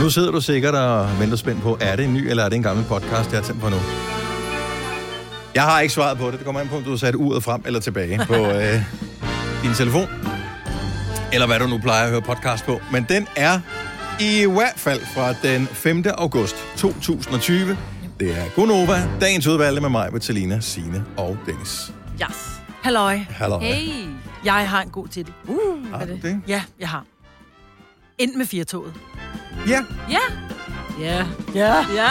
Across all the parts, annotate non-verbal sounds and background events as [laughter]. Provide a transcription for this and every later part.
Nu sidder du sikkert og venter spændt på, er det en ny eller er det en gammel podcast, jeg har tændt på nu? Jeg har ikke svaret på det. Det kommer an på, om du har sat uret frem eller tilbage på øh, din telefon. Eller hvad du nu plejer at høre podcast på. Men den er i hvert fald fra den 5. august 2020. Det er Gunova, dagens udvalgte med mig, Vitalina, Sine og Dennis. Yes. Halløj. Halløj. Hey. Jeg har en god titel. Uh, Har du det? Ja, jeg har. Ind med firetoget. Ja, Ja. Ja. Ja. Ja.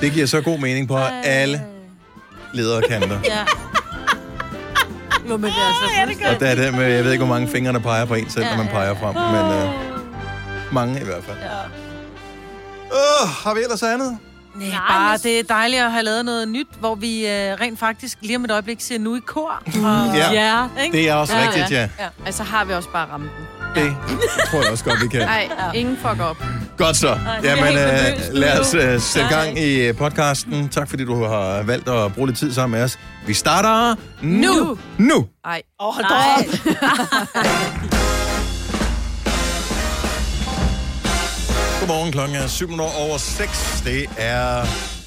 det giver så god mening på alle ledere kanter. Ja. Jo, men det er så ja, det Og der er det med, jeg ved ikke, hvor mange fingre, der peger på en selv, når man peger frem, men øh, mange i hvert fald. Ja. Øh, har vi ellers andet? Nej, Nej, bare men- det er dejligt at have lavet noget nyt, hvor vi øh, rent faktisk lige om et øjeblik ser nu i [laughs] kor. Og, Ja. Ja. ikke? Det er også Ja, ja. rigtigt, ja. Altså har vi også bare ramt den. Det tror jeg også godt, vi kan. Nej, ingen fuck op. Godt så. Jamen, helt øh, nervøs nu. lad os øh, sætte gang i øh, podcasten. Tak fordi du har valgt at bruge lidt tid sammen med os. Vi starter nu. Nu. Nej. Åh, hold da [laughs] op. Godmorgen, klokken er 7 over 6. Det er det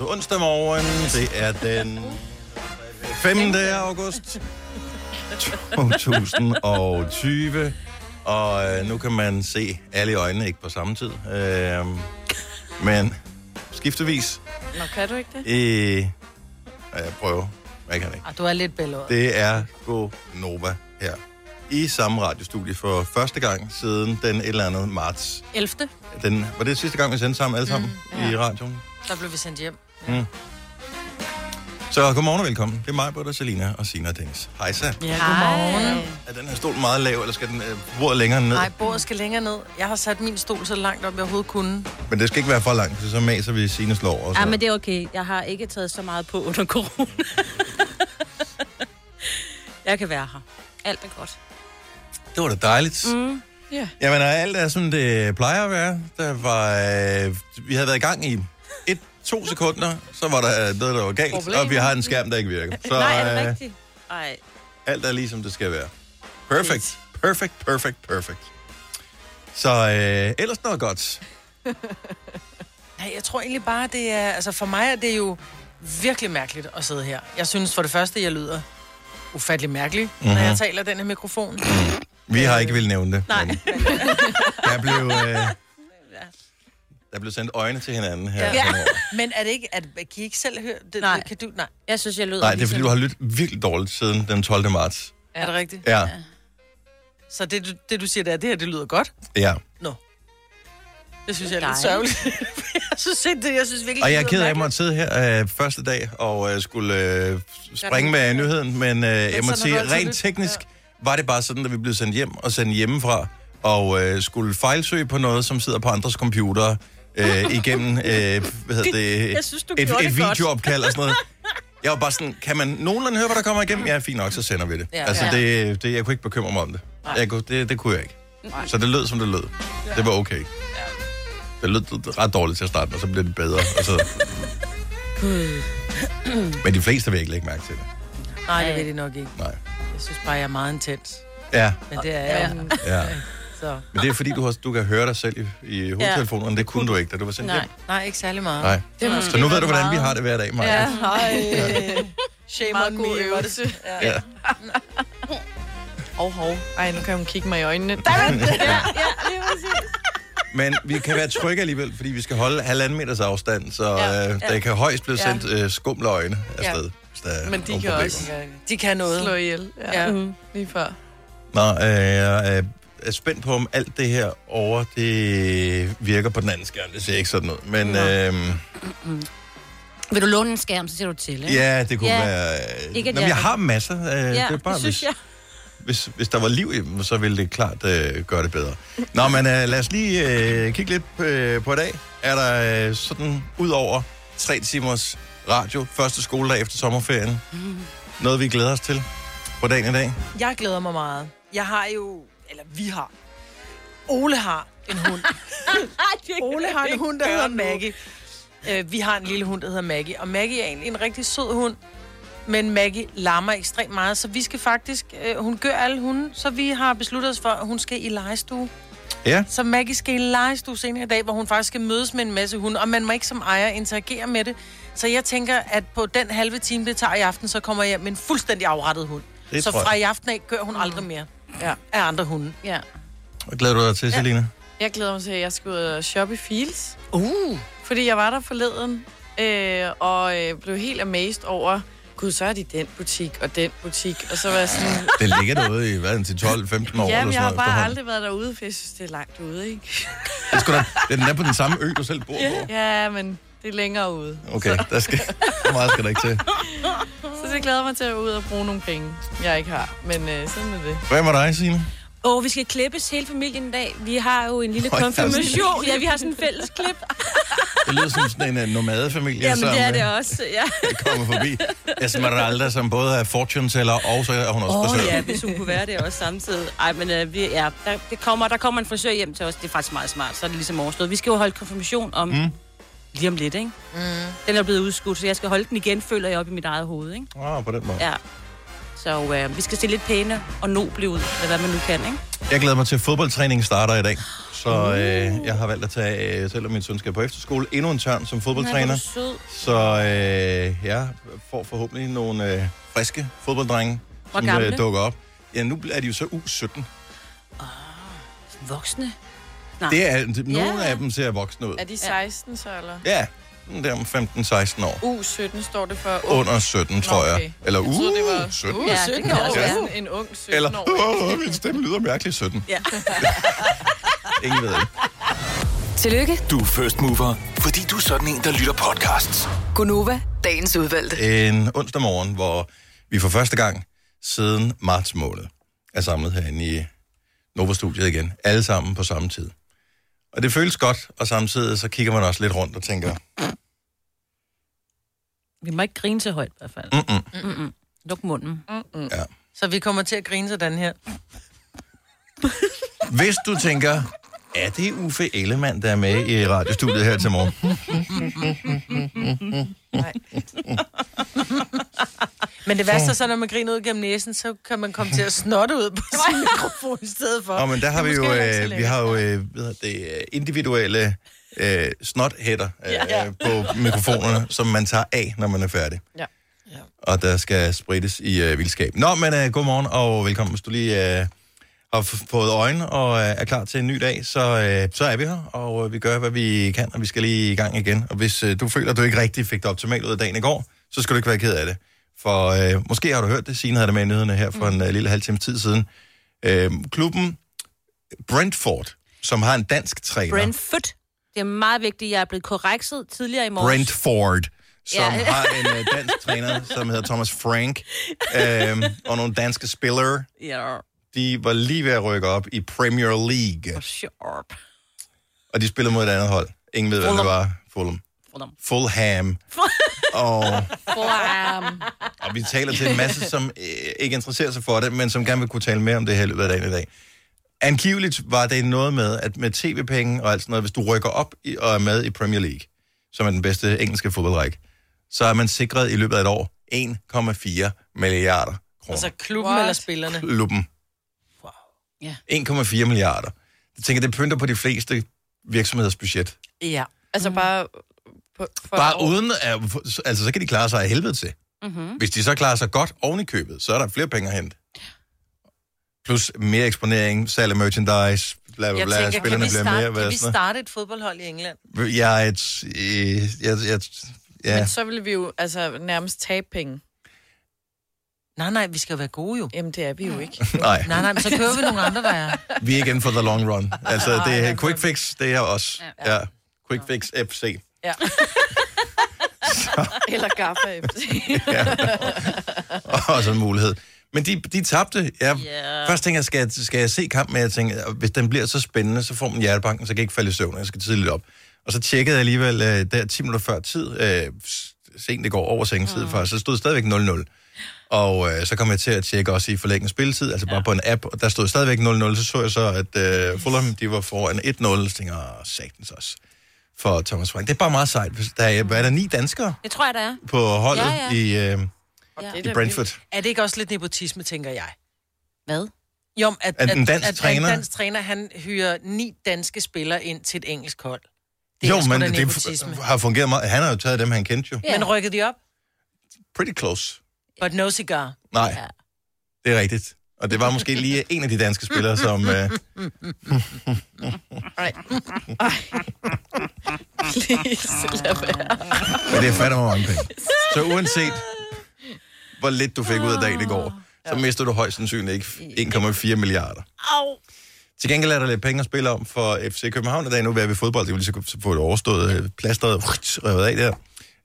er onsdag morgen. Det er den 5. august 2020. Og øh, nu kan man se alle i øjnene, ikke på samme tid. Øh, men skiftevis. Nå, kan du ikke det? Øh, jeg prøver. Jeg kan ikke. Ah, du er lidt bælåret. Det er Go Nova her. I samme radiostudie for første gang siden den et eller andet marts 11. den, var det sidste gang, vi sendte sammen alle sammen mm, ja. i radioen? Mm. Der blev vi sendt hjem. Så godmorgen og velkommen. Det er mig, Britta, Selina og Sina og Dennis. Hej så. Ja, godmorgen. Er den her stol meget lav, eller skal den øh, bordet længere ned? Nej, Nej. bordet skal længere ned. Jeg har sat min stol så langt op, jeg overhovedet kunne. Men det skal ikke være for langt, for så maser vi Sina slår over. Ja, men det er okay. Jeg har ikke taget så meget på under [laughs] corona. jeg kan være her. Alt er godt. det var da dejligt. Mm. ja. Jamen, og alt er, som det plejer at være. Der var, øh, vi havde været i gang i et, to sekunder, så var der øh, noget, der var galt, Problemer. Problemer. og vi har en skærm, der ikke virker. Så Nej, er det øh, rigtigt? Nej. alt er ligesom det skal være. Perfect, perfect, perfect, perfect. Så øh, ellers noget godt. Nej, jeg tror egentlig bare, det er... Altså, for mig er det jo virkelig mærkeligt at sidde her. Jeg synes for det første, jeg lyder ufattelig mærkelig, mm-hmm. når Mhm. jeg taler i den her [clears throat] mikrofon. Vi har ikke vil nævne det. Nej. men Der blev, øh, der blev sendt øjne til hinanden her. Ja. [laughs] Men er det ikke... At, kan I ikke selv høre det? Nej. Kan du, nej. Jeg synes, jeg lyder Nej, det er fordi, ligesom- du har lyttet virkelig dårligt siden den 12. marts. Er det rigtigt? Ja, Så det, du- det, du siger, det er, det her, det lyder godt. ja. Det synes Det jeg er er lidt dejligt. sørgeligt. [laughs] jeg synes ikke det. Jeg synes virkelig, Og jeg er det ked af, at lyder jeg måtte sidde her øh, første dag og øh, skulle øh, springe med nyheden, men øh, jeg må sådan er sige, det altid rent lidt. teknisk var det bare sådan, at vi blev sendt hjem og sendt hjemmefra og øh, skulle fejlsøge på noget, som sidder på andres computere øh, [laughs] igennem øh, hvad hedder det, Jeg synes, du et, gjorde et det godt. videoopkald og [laughs] sådan [laughs] noget. Jeg var bare sådan, kan man nogenlærende høre, hvad der kommer igennem? Ja, fint nok, så sender vi det. Ja, Ja. altså, Ja. det, det, jeg kunne ikke bekymre mig om det. Jeg kunne, det, det kunne jeg ikke. Nej. Så det lød, som det lød. Det var okay. Det lød ret dårligt til at starte, og så blev det bedre. Og så... [clears throat] Men de fleste vil ikke lægge mærke til det. godt. Nej, det Øh, ved det nok ikke. Nej. Jeg synes bare, jeg er meget intens. Ja, Men det er jeg jo. [laughs] ja. Så. Men det er fordi, du, har, du kan høre dig selv i, i hovedtelefonen, og det kunne du ikke, da du var sendt Nej. hjem. Nej, ikke særlig meget. Nej. Så nu ved du, hvordan vi har det hver dag, Maja. Mm. Ja. [laughs] Hej. Shame on me. øvelse. Ja. Hov, hov. Ej, nu kan hun kigge mig i øjnene. Der Men vi kan være trygge alligevel, fordi vi skal holde halvanden meters afstand, så ja. øh, der kan højst blive sendt øh, skumle øjne afsted. Ja. Hvis der er Men de nogle kan problemer. også De kan noget. slå ihjel. Ja. Mm-hmm. Ja. ja. Lige før. Nå, øh, jeg er- er spændt på, om alt det her over, det virker på den anden skærm. Det ser ikke sådan ud. Men øh, Vil du låne en skærm, så ser du til, ikke? ja, det kunne Ja. være... øh, Ikke, at Nå, jeg- men jeg har masser. Øh, ja, det Ja, er bare, det synes hvis, jeg. hvis, hvis der var liv i dem, så ville det klart øh, gøre det bedre. Nå, men øh, lad os lige øh, kigge lidt øh, på i dag. Er der øh, sådan, ud over tre timers radio, første skoledag efter sommerferien, noget vi glæder os til på dagen i dag? Jeg glæder mig meget. Jeg har jo, eller vi har, Ole har en hund. Ole har en hund, der hedder Maggie. Øh, vi har en lille hund, der hedder Maggie. Og Maggie er egentlig en rigtig sød hund. Men Maggie larmer ekstremt meget, så vi skal faktisk... Øh, hun gør alle hunde, så vi har besluttet os for, at hun skal i legestue. Ja. Så Maggie skal i legestue senere i dag, hvor hun faktisk skal mødes med en masse hunde, og man må ikke som ejer interagere med det. Så jeg tænker, at på den halve time, det tager i aften, så kommer jeg hjem med en fuldstændig afrettet hund. Det så tror jeg. fra i aften af kører hun aldrig mere Ja. af andre hunde. Ja. Hvad glæder du dig til, Selina? Jeg glæder mig til, at jeg skal ud og shoppe i Fields. Uh. Fordi jeg var der forleden, øh, og øh, blev helt amazed over, gud, så er de den butik og den butik. Og så var jeg sådan, Det ligger derude i, hvad, til 12-15 år eller sådan noget. ja, jeg har bare efterhånden. aldrig været derude, for jeg synes, det er langt ude, ikke? Det skulle da, den er på den samme ø, du selv bor på. Ja, men det er længere ude. Okay, der skal, så meget skal der ikke til. Så det glæder jeg mig til at ud og bruge nogle penge, jeg ikke har. Men øh, sådan er det. Hvad med dig, Signe? Og vi skal klippes hele familien i dag. Vi har jo en lille Hold da op. konfirmation. Ja, vi har sådan en fælles [laughs] klip. Det lyder som sådan en øh, nomadefamilie, Jamen, som det er øh, det også. Ja. kommer forbi. Esmeralda, som både er fortune teller, og så er hun også Åh oh, frisør. ja, hvis hun kunne være det også samtidig. Ej, men øh, vi, ja, der, det kommer, der kommer en frisør hjem til os. Det er faktisk meget smart, så er det ligesom overstået. Vi skal jo holde konfirmation om mm. lige om lidt, ikke? Mm. Den er blevet udskudt, så jeg skal holde den igen, føler jeg op i mit eget hoved, ikke? Ah, på den måde. Ja. Så øh, vi skal se lidt pæne og noble ud, eller hvad man nu kan, ikke? Jeg glæder mig til, at fodboldtræningen starter i dag. Så øh, jeg har valgt at tage, øh, selvom min søn skal på efterskole, endnu en tørn som Nej, hvor er fodboldtræner. du sød. Så øh, jeg får forhåbentlig nogle øh, friske fodbolddrenge, Hvor som øh, gamle? dukker op. Ja, nu er de jo så U17. Voksne. Det er, nogle Ja. af dem ser voksne ud. Er de 16 så, eller? Ja, sådan der om 15-16 år. U17 står det for. Under 17, tror okay. jeg. Eller Jeg troede, det var uh, 17. Uh, Ja, det 17 kan år. også Ja. være. Sådan en ung 17 Eller, år. åh, min stemme lyder mærkeligt 17. Ja. Ingen ved det. Tillykke, Du er first mover, fordi du er sådan en, der lytter podcasts. Gunova, dagens udvalgte. En onsdag morgen, hvor vi for første gang siden marts måned er samlet herinde i Nova-studiet igen. Alle sammen på samme tid. Og det føles godt, og samtidig så kigger man også lidt rundt og tænker, Vi må ikke grine så højt i hvert fald. mm -mm, Luk munden. ja. Så vi kommer til at grine sådan her. Hvis du tænker, er det Uffe Ellemann, der er med i radiostudiet her til morgen? Men det værste er så, når man griner ud gennem næsen, så kan man komme til at snotte ud på [laughs] sin mikrofon i stedet for. Nå, men der har vi Det er jo, måske heller ikke så øh, vi lækkert. har jo øh, hvad hedder det, øh, individuelle øh, snothætter øh, ja. på mikrofonerne, som man tager af, når man er færdig. Ja. Ja. Og der skal sprittes i øh, vildskab. Nå, men øh, godmorgen og velkommen. Hvis du lige øh, har f- fået øjne og øh, er klar til en ny dag, så, øh, så er vi her, og øh, vi gør, hvad vi kan, og vi skal lige i gang igen. Og hvis øh, du føler, at du ikke rigtig fik det optimalt ud af dagen i går, så skal du ikke være ked af det. For øh, måske har du hørt det, Signe havde det med i nyhederne her Mm. for en øh, lille halv times tid siden. Øh, klubben Brentford, som har en dansk træner, Brentford. Det er meget vigtigt, jeg er blevet korrekset tidligere i morges. Brentford, som Ja. har en øh, dansk træner, som hedder Thomas Frank, øh, og nogle danske spillere, [laughs] Ja, de var lige ved at rykke op i Premier League, sharp. og de spillede mod et andet hold. Ingen ved, hvad det Fulham. var. Fulham. Fulham. [laughs] Fulham. og, Blam. og vi taler til en masse, som øh, ikke interesserer sig for det, men som gerne vil kunne tale mere om det her i løbet af dagen i dag. Angiveligt var det noget med, at med tv-penge og alt sådan noget, hvis du rykker op i, og er med i Premier League, som er den bedste engelske fodboldrække, så er man sikret i løbet af et år 1,4 milliarder kroner. Altså klubben What? What? eller spillerne. klubben. Ja. 1,4 milliarder. Jeg tænker, det pynter på de fleste virksomheders budget. Ja. Altså Mm. bare... På, for Bare et år. uden, at, altså så kan de klare sig af helvede til. Mm. Mm-hmm. Hvis de så klarer sig godt oven i købet, så er der flere penge at hente. Plus mere eksponering, salg af merchandise, bla bla Jeg bla, tænker, kan spillerne vi, bliver mere, starte, hvad kan vi sådan noget. starte et fodboldhold i England? Jeg er et, øh, jeg, jeg, ja, Men så ville vi jo altså, nærmest tabe penge. Nej, nej, vi skal jo være gode jo. Jamen, det er vi jo ikke. [laughs] nej, Nej, nej, men så kører vi nogle andre, der er. vi er igen for the long run. Altså, [laughs] det er quick fix, det er os. Ja. ja. Quick fix FC. Ja. [laughs] Eller Gaffa FC. [laughs] og sådan en mulighed. Men de, de tabte. Jeg, Ja. Først tænkte jeg, skal, jeg- skal jeg se kampen? Men jeg tænkte, hvis den bliver så spændende, så får man hjertebanken, så kan jeg ikke falde i søvn, og jeg skal tidligt op. Og så tjekkede jeg alligevel øh, der 10 minutter før tid, øh, s- sent det går over sengetid mm. faktisk, så stod det stadigvæk 0-0. Og øh, så kom jeg til at tjekke også i forlænget spilletid, altså bare på en app, og der stod stadigvæk 0-0, så så jeg så, at øh, Fulham, de var foran 1-0, så tænkte jeg, "Åh, satans også, for Thomas Frank. Det er bare meget sejt. hvis Der er, hvad er der ni danskere Det tror jeg, der er. på holdet Ja, ja, ja. I, øh, Det er i da Brentford? Er det ikke også lidt nepotisme, tænker jeg? Hvad? Jo, at, At en dansk træner- At en dansk træner, han hyrer ni danske spillere ind til et engelsk hold. Det jo, sgu men da det nepotisme. f- har fungeret meget. Han har jo taget dem, han kendte jo. Ja. Men rykkede de op? Pretty close. But no cigar. Nej, det er rigtigt. Og det var måske lige en af de danske spillere, som... Øh, Please, lad være. Men det er fandme mange penge. Så uanset, hvor lidt du fik ud af dagen i går, så mister du højst sandsynligt ikke 1,4 milliarder. Til gengæld er der lidt penge at spille om for FC København i dag. Nu er vi i fodbold, det vil lige så godt få et overstået øh, plasteret revet af der.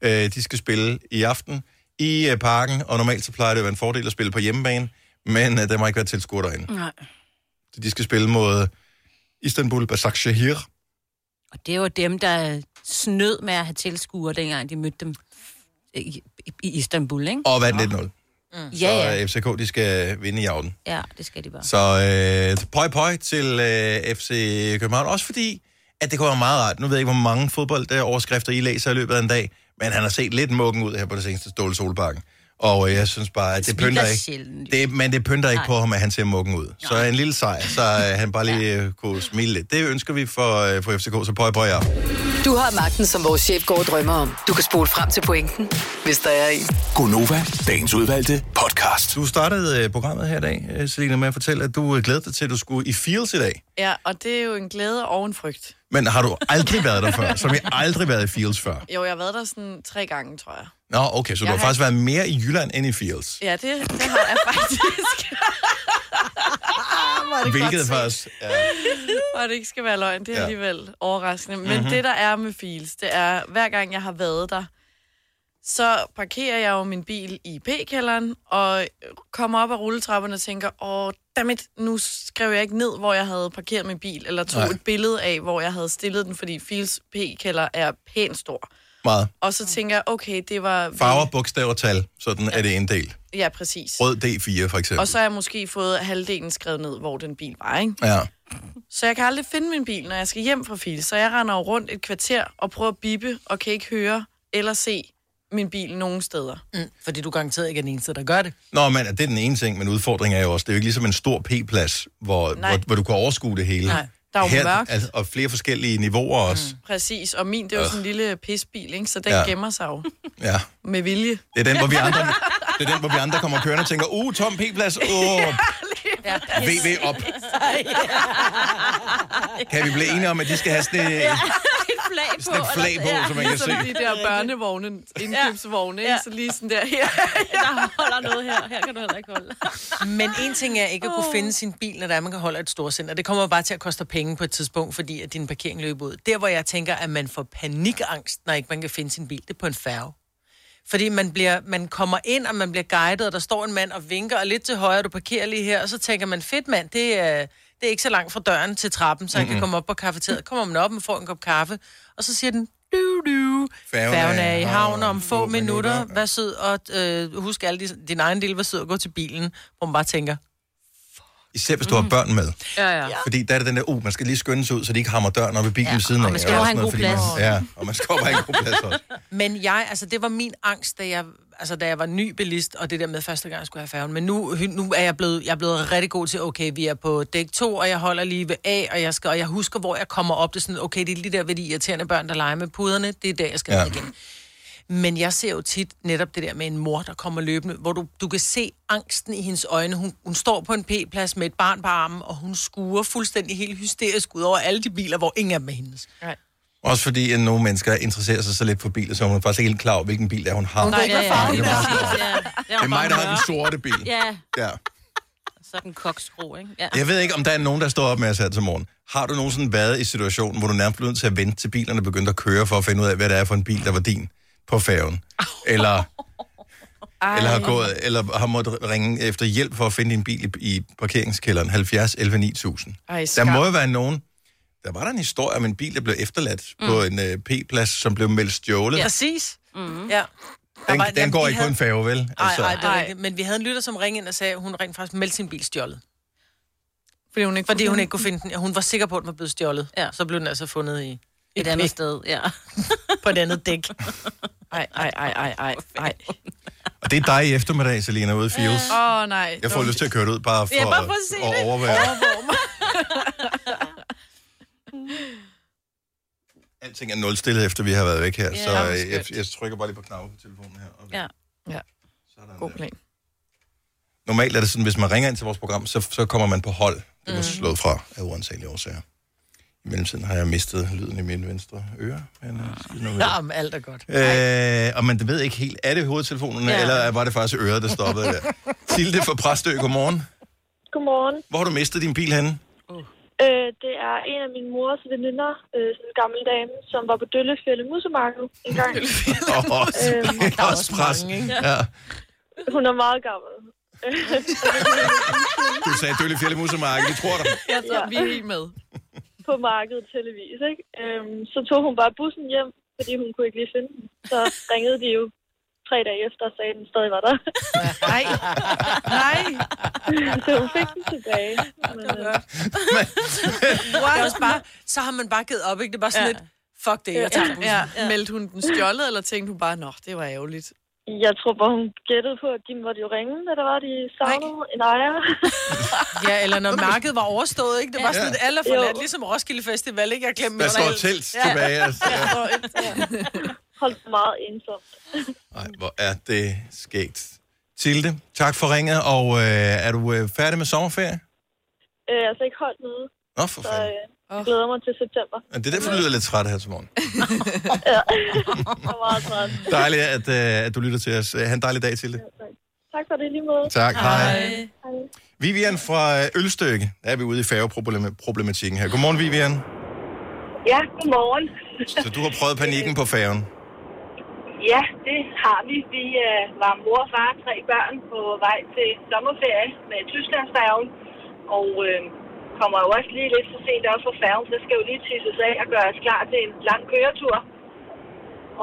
Øh, De skal spille i aften i øh, parken, og normalt så plejer det at være en fordel at spille på hjemmebane, men øh, der må ikke være tilskuer derinde. Nej. Så de skal spille mod Istanbul Basaksehir. Og det var dem, der snød med at have tilskuere, dengang de mødte dem i, i- i Istanbul, ikke? Og vandt 1-0. Ja, Og ja. øh, FCK, de skal vinde i aften. Ja, det skal de [laughs] bare. Så øh, pøj pøj til øh, FC København. Også fordi, at det kunne være meget rart. Nu ved jeg ikke, hvor mange fodboldoverskrifter I læser i løbet af en dag, men han har set lidt mukken ud her på det seneste Ståle Solbakken. Og øh, jeg synes bare, at det smiler pynter ikke. Altså, sjældent, jo. Det, men det pynter ikke på ham, at han ser mukken ud. Så en lille sejr, så øh, han bare lige øh, kunne smile lidt. Det ønsker vi for, øh, for FCK, så pøj pøj af. Du har magten, som vores chef går og drømmer om. Du kan spole frem til pointen, hvis der er en. Gonova, dagens udvalgte podcast. Du startede øh, programmet her i dag, øh, Selina, med at fortælle, at du øh, glædede dig til, at du skulle i Fields i dag. Ja, og det er jo en glæde og en frygt. Men har du aldrig været der før? Som jeg aldrig været i Fields før? Jo, jeg har været der sådan tre gange, tror jeg. Nå, okay, så du har, har- faktisk været mere i Jylland end i Fields. Ja, det, det har jeg faktisk. [laughs] Hvilket faktisk er... [laughs] og det ikke skal være løgn, det er Ja. Mhm. alligevel overraskende. Men mm-hmm. det, der er med Fields, det er, hver gang jeg har været der, så parkerer jeg jo min bil i P-kælderen, og kommer op ad rulletrapperne og tænker, åh, dammit, nu skrev jeg ikke ned, hvor jeg havde parkeret min bil, eller tog Nej. Nej. et billede af, hvor jeg havde stillet den, fordi Fields P-kælder er pænt stor. Meget. Og så tænker jeg, okay, det var... Farver, bogstaver, tal. Sådan er det en del. Ja, præcis. Rød D4, for eksempel. Og så har jeg måske fået halvdelen skrevet ned, hvor den bil var, ikke? Ja. Så jeg kan aldrig finde min bil, når jeg skal hjem fra Fils. Så jeg render jo rundt et kvarter og prøver at bippe, og kan ikke høre eller se min bil nogen steder. Mm, fordi du garanteret ikke er den eneste, der gør det. Nå, men det er den ene ting, men udfordringen er jo også, det er jo ikke ligesom en stor P-plads, hvor, Nej. hvor, hvor du kan overskue det hele. Nej, der er jo mørkt. Mm. Altså, og flere forskellige niveauer også. Præcis, og min, det er jo sådan en lille pisbil, ikke? Så den Øh. Ja. ja. gemmer sig jo Ja. med vilje. Det er den, hvor vi andre... [laughs] Det er den, hvor vi andre kommer kørende og tænker, uh, tom P-plads, åh, Ja. VV [laughs] op. Kan vi blive enige om, at de skal have sådan et, Et flag på. sådan et flag eller- på, så man kan se? Som de der børnevogne, indkøbsvogne, ikke? Så lige sådan der [laughs] her. Der holder noget her. Her kan du heller ikke holde. Men en ting er ikke at kunne finde sin bil, når der er, man kan holde et storcenter. Det kommer bare til at koste penge på et tidspunkt, fordi at din parkering løber ud. Der, hvor jeg tænker, at man får panikangst, når ikke man kan finde sin bil, det er på en færge. Fordi man, bliver, man kommer ind, og man bliver guidet, og der står en mand og vinker, og lidt til højre, du parkerer lige her, og så tænker man, fedt mand, det er, det er ikke så langt fra døren til trappen, så han mm-hmm. kan komme op på kaffeteriet. Kommer man op og får en kop kaffe, og så siger den, du, du. Færgen Færgen, er er i havn om få minutter. minutter. Vær sød, og øh, husk alle de, din egen del, vær sød og gå til bilen, hvor man bare tænker, Især hvis du har børn med. Mhm. Ja, ja. Fordi der er det den der, uh, man skal lige skynde sig ud, så de ikke hammer døren op i bilen ja, ved siden af. og man skal jo også have en noget, god fordi man- plads. Ja, og man skal jo have en god plads også. [laughs] Men jeg, altså det var min angst, da jeg, altså, da jeg var ny bilist, og det der med første gang, jeg skulle have færgen. Men nu, nu er jeg blevet, jeg er blevet rigtig god til, okay, vi er på dæk 2, og jeg holder lige ved A, og jeg, skal, og jeg husker, hvor jeg kommer op. Det er sådan, okay, det er lige der ved de irriterende børn, der leger med puderne. Det er der, jeg skal Ja. ja. ned igen. Men jeg ser jo tit netop det der med en mor, der kommer løbende, hvor du, du kan se angsten i hendes øjne. Hun, hun står på en p-plads med et barn på armen, og hun skuer fuldstændig helt hysterisk ud over alle de biler, hvor ingen af dem er hendes. Også fordi, at nogle mennesker interesserer sig så lidt for biler, så hun er faktisk ikke helt klar over, hvilken bil det er, hun har. Ja, det ja, ja. Det er bare- præcis, ja. er mig, der har den sorte bil. Ja, Ja. sådan en kokskro, ikke? Ja. Jeg ved ikke, om der er nogen, der står op med os her til morgen. Har du nogensinde været i situationen, hvor du nærmest blev nødt til at vente til bilerne begyndte at køre, for at finde ud af, hvad det er for en bil, der var din på færgen? Eller, eller, har, gået, eller har måttet ringe efter hjælp for at finde din bil i, i parkeringskælderen 70 11 9000? Ej, Der skam. må jo være nogen... Der var der en historie om en bil, der blev efterladt mm. på en øh, P-plads, som blev meldt stjålet. Yes. Præcis. Mm-hmm. Ja. Der Den, var- den jamen, går vi ikke på havde- en færge, vel? Altså- Nej, nej, det er Ej. rigtigt. Men vi havde en lytter, som ringede ind og sagde, at hun rent faktisk meldte sin bil stjålet. Fordi hun ikke Fordi hun ikke kunne finde den. Hun var sikker på, at den var blevet stjålet. Ja. Så blev den altså fundet i, Et andet [laughs] sted, ja. på et andet dæk. [laughs] Ej, ej, ej, ej, ej, ej. og Og det er dig i eftermiddag, Selina, ude i Fields. Åh, oh, nej. Jeg får lyst til at køre det ud, bare for, Ja, bare for at se at det. overvære. [laughs] Alting er nulstillet, efter vi har været væk her, Ja, så hvor øh, skønt. jeg, jeg trykker bare lige på knappen på telefonen her. Og Ja. Ja. Sådan God der. plan. Normalt er det sådan, hvis man ringer ind til vores program, så, så kommer man på hold. Det Mm. var slået fra af uansagelige årsager. I mellemtiden har jeg mistet lyden i min venstre øre. Men, øh, skidt nu med det. Ja, men alt er godt. Øh, og man ved ikke helt, er det hovedtelefonerne, ja. Ja. eller var det faktisk øret, der stoppede [laughs] [laughs] der? Tilde fra Præstø, godmorgen. Godmorgen. Hvor har du mistet din bil [laughs] henne? Øh, det er en af min mors veninder, øh, sådan en gammel dame, som var på Døllefjælde Musemarked en gang. Åh, oh, Øhm, det er også pres. Ja. Hun er meget gammel. Du sagde Dølle Fjelle Musemarked, vi tror dig. Jeg tror, Ja. vi er helt med. På markedet heldigvis, ikke? Øhm, så tog hun bare bussen hjem, fordi hun kunne ikke lige finde den. Så ringede de jo tre dage efter og sagde, at den stadig var der. Nej. Nej. [laughs] så hun fik den tilbage. Men, øh, Det er også bare, så har man bare givet op, ikke? Det er bare sådan ja. Ja. lidt, fuck det, jeg tager bussen. Ja. Ja. ja. Meldte hun den stjålet, eller tænkte hun bare, nå, det var ærgerligt. jeg tror bare, hun gættede på, at de måtte jo ringe, da der var, de savnede en ejer. ja, [laughs] eller når markedet var overstået, ikke? Det var sådan Ja. lidt aller forladt, Jo. ligesom Roskilde Festival, ikke? Jeg glemte Der min står et regel. telt tilbage. Altså. Holdt sig meget ensomt. Ej, hvor er det skægt. Tilde, tak for ringet, og øh, er du øh, færdig med sommerferie? Øh, altså ikke holdt nede, Nå, for så fanden. øh, jeg glæder mig til september. Det er derfor, du lyder lidt træt her til morgen. Jeg er meget træt. Dejligt, at, øh, at du lytter til os. Ha' en dejlig dag, Tilde. Tak for det i lige måde. Tak, hej. Vivian fra øh, Ølstykke. Der er vi ude i færgeproblematikken her. Godmorgen, Vivian. Ja, godmorgen. Så du har prøvet panikken på færgen. [laughs] Ja, det har vi. Vi øh, var mor og far tre børn på vej til sommerferie med Tysklandsfærgen. Og øh, kommer jo også lige lidt for sent op fra færgen, så skal jo lige tisses af og gøres klar til en lang køretur.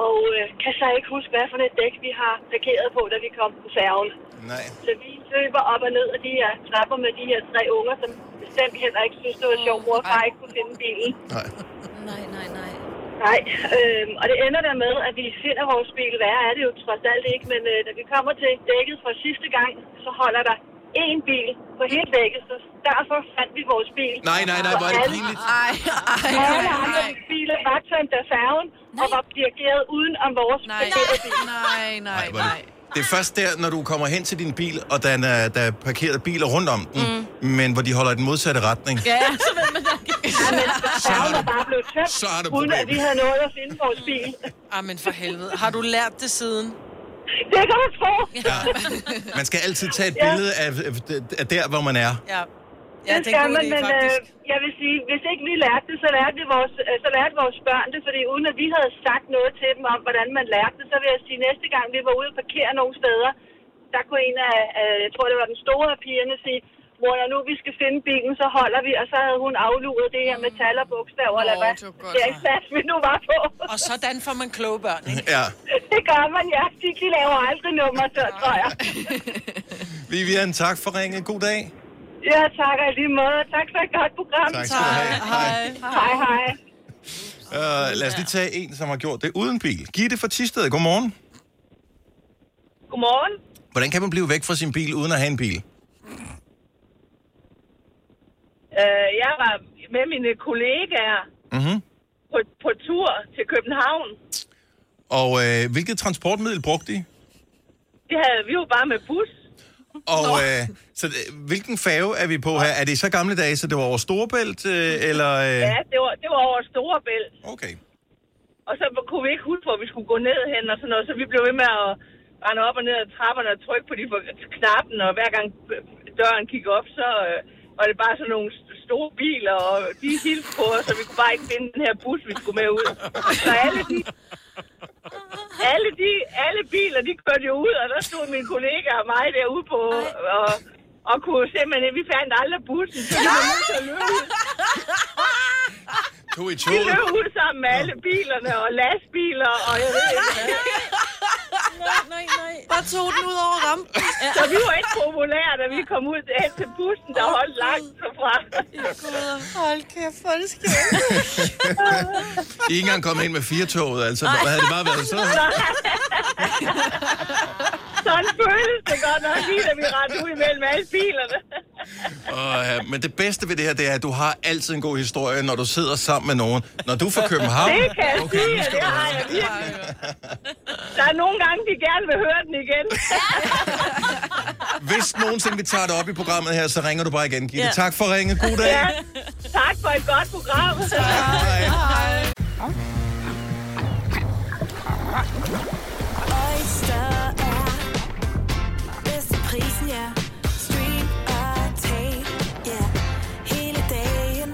Og øh, kan så ikke huske, hvad for et dæk vi har parkeret på, da vi kom på færgen. Nej. Så vi løber op og ned af de her trapper med de her tre unger, som bestemt heller ikke synes, det var sjovt. Mor og far ikke kunne finde bilen. Nej. Nej, nej, nej. Nej, øh, og det ender der med, at vi finder vores bil. Værre er det jo trods alt ikke, men øh, da vi kommer til dækket fra sidste gang, så holder der én bil på hele dækket, så derfor fandt vi vores bil. Nej, nej, nej, hvor er det Alle- pinligt. Ej, ej, Alle nej, andre nej. biler var tømt af færgen og var dirigeret uden om vores Nej, parkerede bil. nej, nej, Ej, hvor er nej. det- Det er først der, når du kommer hen til din bil, og der er, der er parkeret biler rundt om den, mm. men hvor de holder i den modsatte retning. Ja. Færgen var bare blevet tømt, Så er det uden at problem. vi havde nået at finde vores bil. Ah, men for helvede. Har du lært det siden? Det kan du tro. [laughs] Man skal altid tage et Ja. billede af, af der, hvor man er. Ja. Ja, Ja, det det er skal en god man, idé, men øh, faktisk. jeg vil sige, hvis ikke vi lærte det, så lærte, vi vores, øh, så lærte vores børn det, fordi uden at vi havde sagt noget til dem om, hvordan man lærte det, så vil jeg sige, næste gang vi var ude og parkere nogle steder, der kunne en af, øh, jeg tror det var den store af pigerne, sige, mor, når nu vi skal finde bilen, så holder vi, og så havde hun afluret det her med tal og bogstaver, eller Nå, hvad det var godt, det er ikke hva'? fast, vi nu var på. Og sådan får man kloge børn, ikke? Ja. det gør man, ja. De, de laver aldrig nummer, så tror jeg. Vivian, tak for ringet. God dag. Ja, tak og i lige måde. Tak for et godt program. Tak skal du have. Hej. Hej, hej. Uh, lad os lige tage en, som har gjort det uden bil. Gitte fra Tisted, godmorgen. Godmorgen. Hvordan kan man blive væk fra sin bil, uden at have en bil? Øh, jeg var med mine kollegaer Mhm. på, på tur til København. Og øh, hvilket transportmiddel brugte I? Det havde vi jo bare med bus. Og øh, så, øh, hvilken fave er vi på her? Er det i så gamle dage, så det var over Storebælt, øh, eller... Øh? Ja, det var, det var over Storebælt. Okay. Og så kunne vi ikke huske, hvor vi skulle gå ned hen og sådan noget, så vi blev ved med at rende op og ned ad trapperne og trykke på de for- knappen, og hver gang øh, døren kiggede op, så øh, var det bare sådan nogle st- store biler, og de hilste på os, og vi kunne bare ikke finde den her bus, vi skulle med ud. Så alle de, alle de alle biler, de kørte jo ud, og der stod min kollega og mig derude på, og, og kunne simpelthen, vi fandt aldrig bussen, så vi var nødt til at løbe ud. To i to. Vi løb ud sammen med alle bilerne og lastbiler, og jeg ved ikke hvad. Bare tog den ud over rampen. Så vi var ikke populære, da vi kom ud hen til bussen, der holdt langt derfra. Hold kæft, hvor er det skægt. I er ikke engang kommet ind med firetoget, altså. Hvad havde det bare været så? Sådan blev godt nok lige, da vi rendte ud imellem alle bilerne. Og, øh, men det bedste ved det her, det er, at du har altid en god historie, når du sidder sammen med nogen. Når du er fra København... Det kan jeg Okay, sige, nu og skal det du har jeg virkelig. Der er nogle gange, de gerne vil høre den igen. Hvis nogensinde vi tager det op i programmet her, så ringer du bare igen, Gitte. Tak for ringet. God dag. Ja. Tak for et godt program. Hej. Oyster er bedst til prisen, ja. Stream og tag, ja. Hele dagen.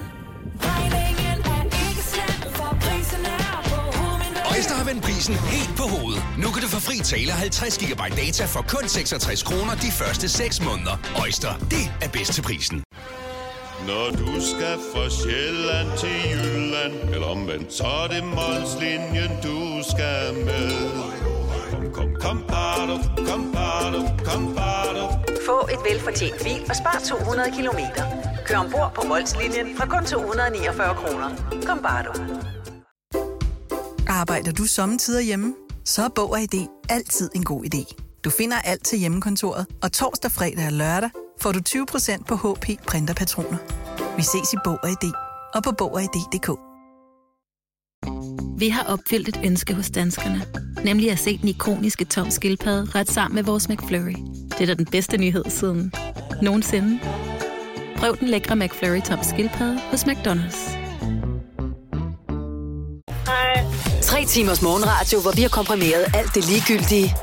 Regningen er ikke slem, for prisen er på hovedet. Øjster har vendt prisen helt på hovedet. Nu kan du få fri tale 50 GB data for kun 66 kroner de første 6 måneder. Øjster, det er bedst til prisen. Når du skal fra Sjælland til Jylland Eller omvendt, så er det Molslinjen, du skal med Kom, kom, kom, bado, kom, bado, kom, bado. Få et velfortjent bil og spar 200 kilometer. Kør ombord på Molslinjen fra kun 249 kroner. Kom bare du. Arbejder du sommetider hjemme? Så er Bog og ID altid en god idé. Du finder alt til hjemmekontoret, og torsdag, fredag og lørdag får du 20% på HP printerpatroner. Vi ses i Bog og ID og på Bog og ID.dk. Vi har opfyldt et ønske hos danskerne. Nemlig at se den ikoniske tom skildpadde ret sammen med vores McFlurry. Det er da den bedste nyhed siden nogensinde. Prøv den lækre McFlurry tom skildpadde hos McDonald's. Tre timers morgenradio, hvor vi har komprimeret alt det ligegyldige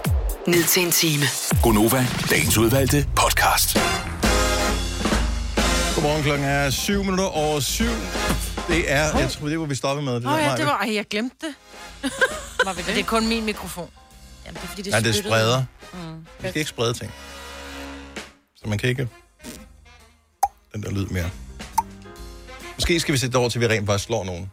ned til en time. Gonova, dagens udvalgte podcast. Godmorgen, klokken er 7 minutter over 7. Det er, jeg tror, det var, vi stoppede med. Det, Åh oh, ja, Maja. det var... Ej, jeg glemte det. Var vi det? det er kun min mikrofon. Jamen, det er fordi, Ja, det spyttede. spreder. Mm. Vi skal ikke sprede ting. Så man kan ikke... Den der lyd mere. Måske skal vi sætte det over til, at vi rent faktisk slår nogen.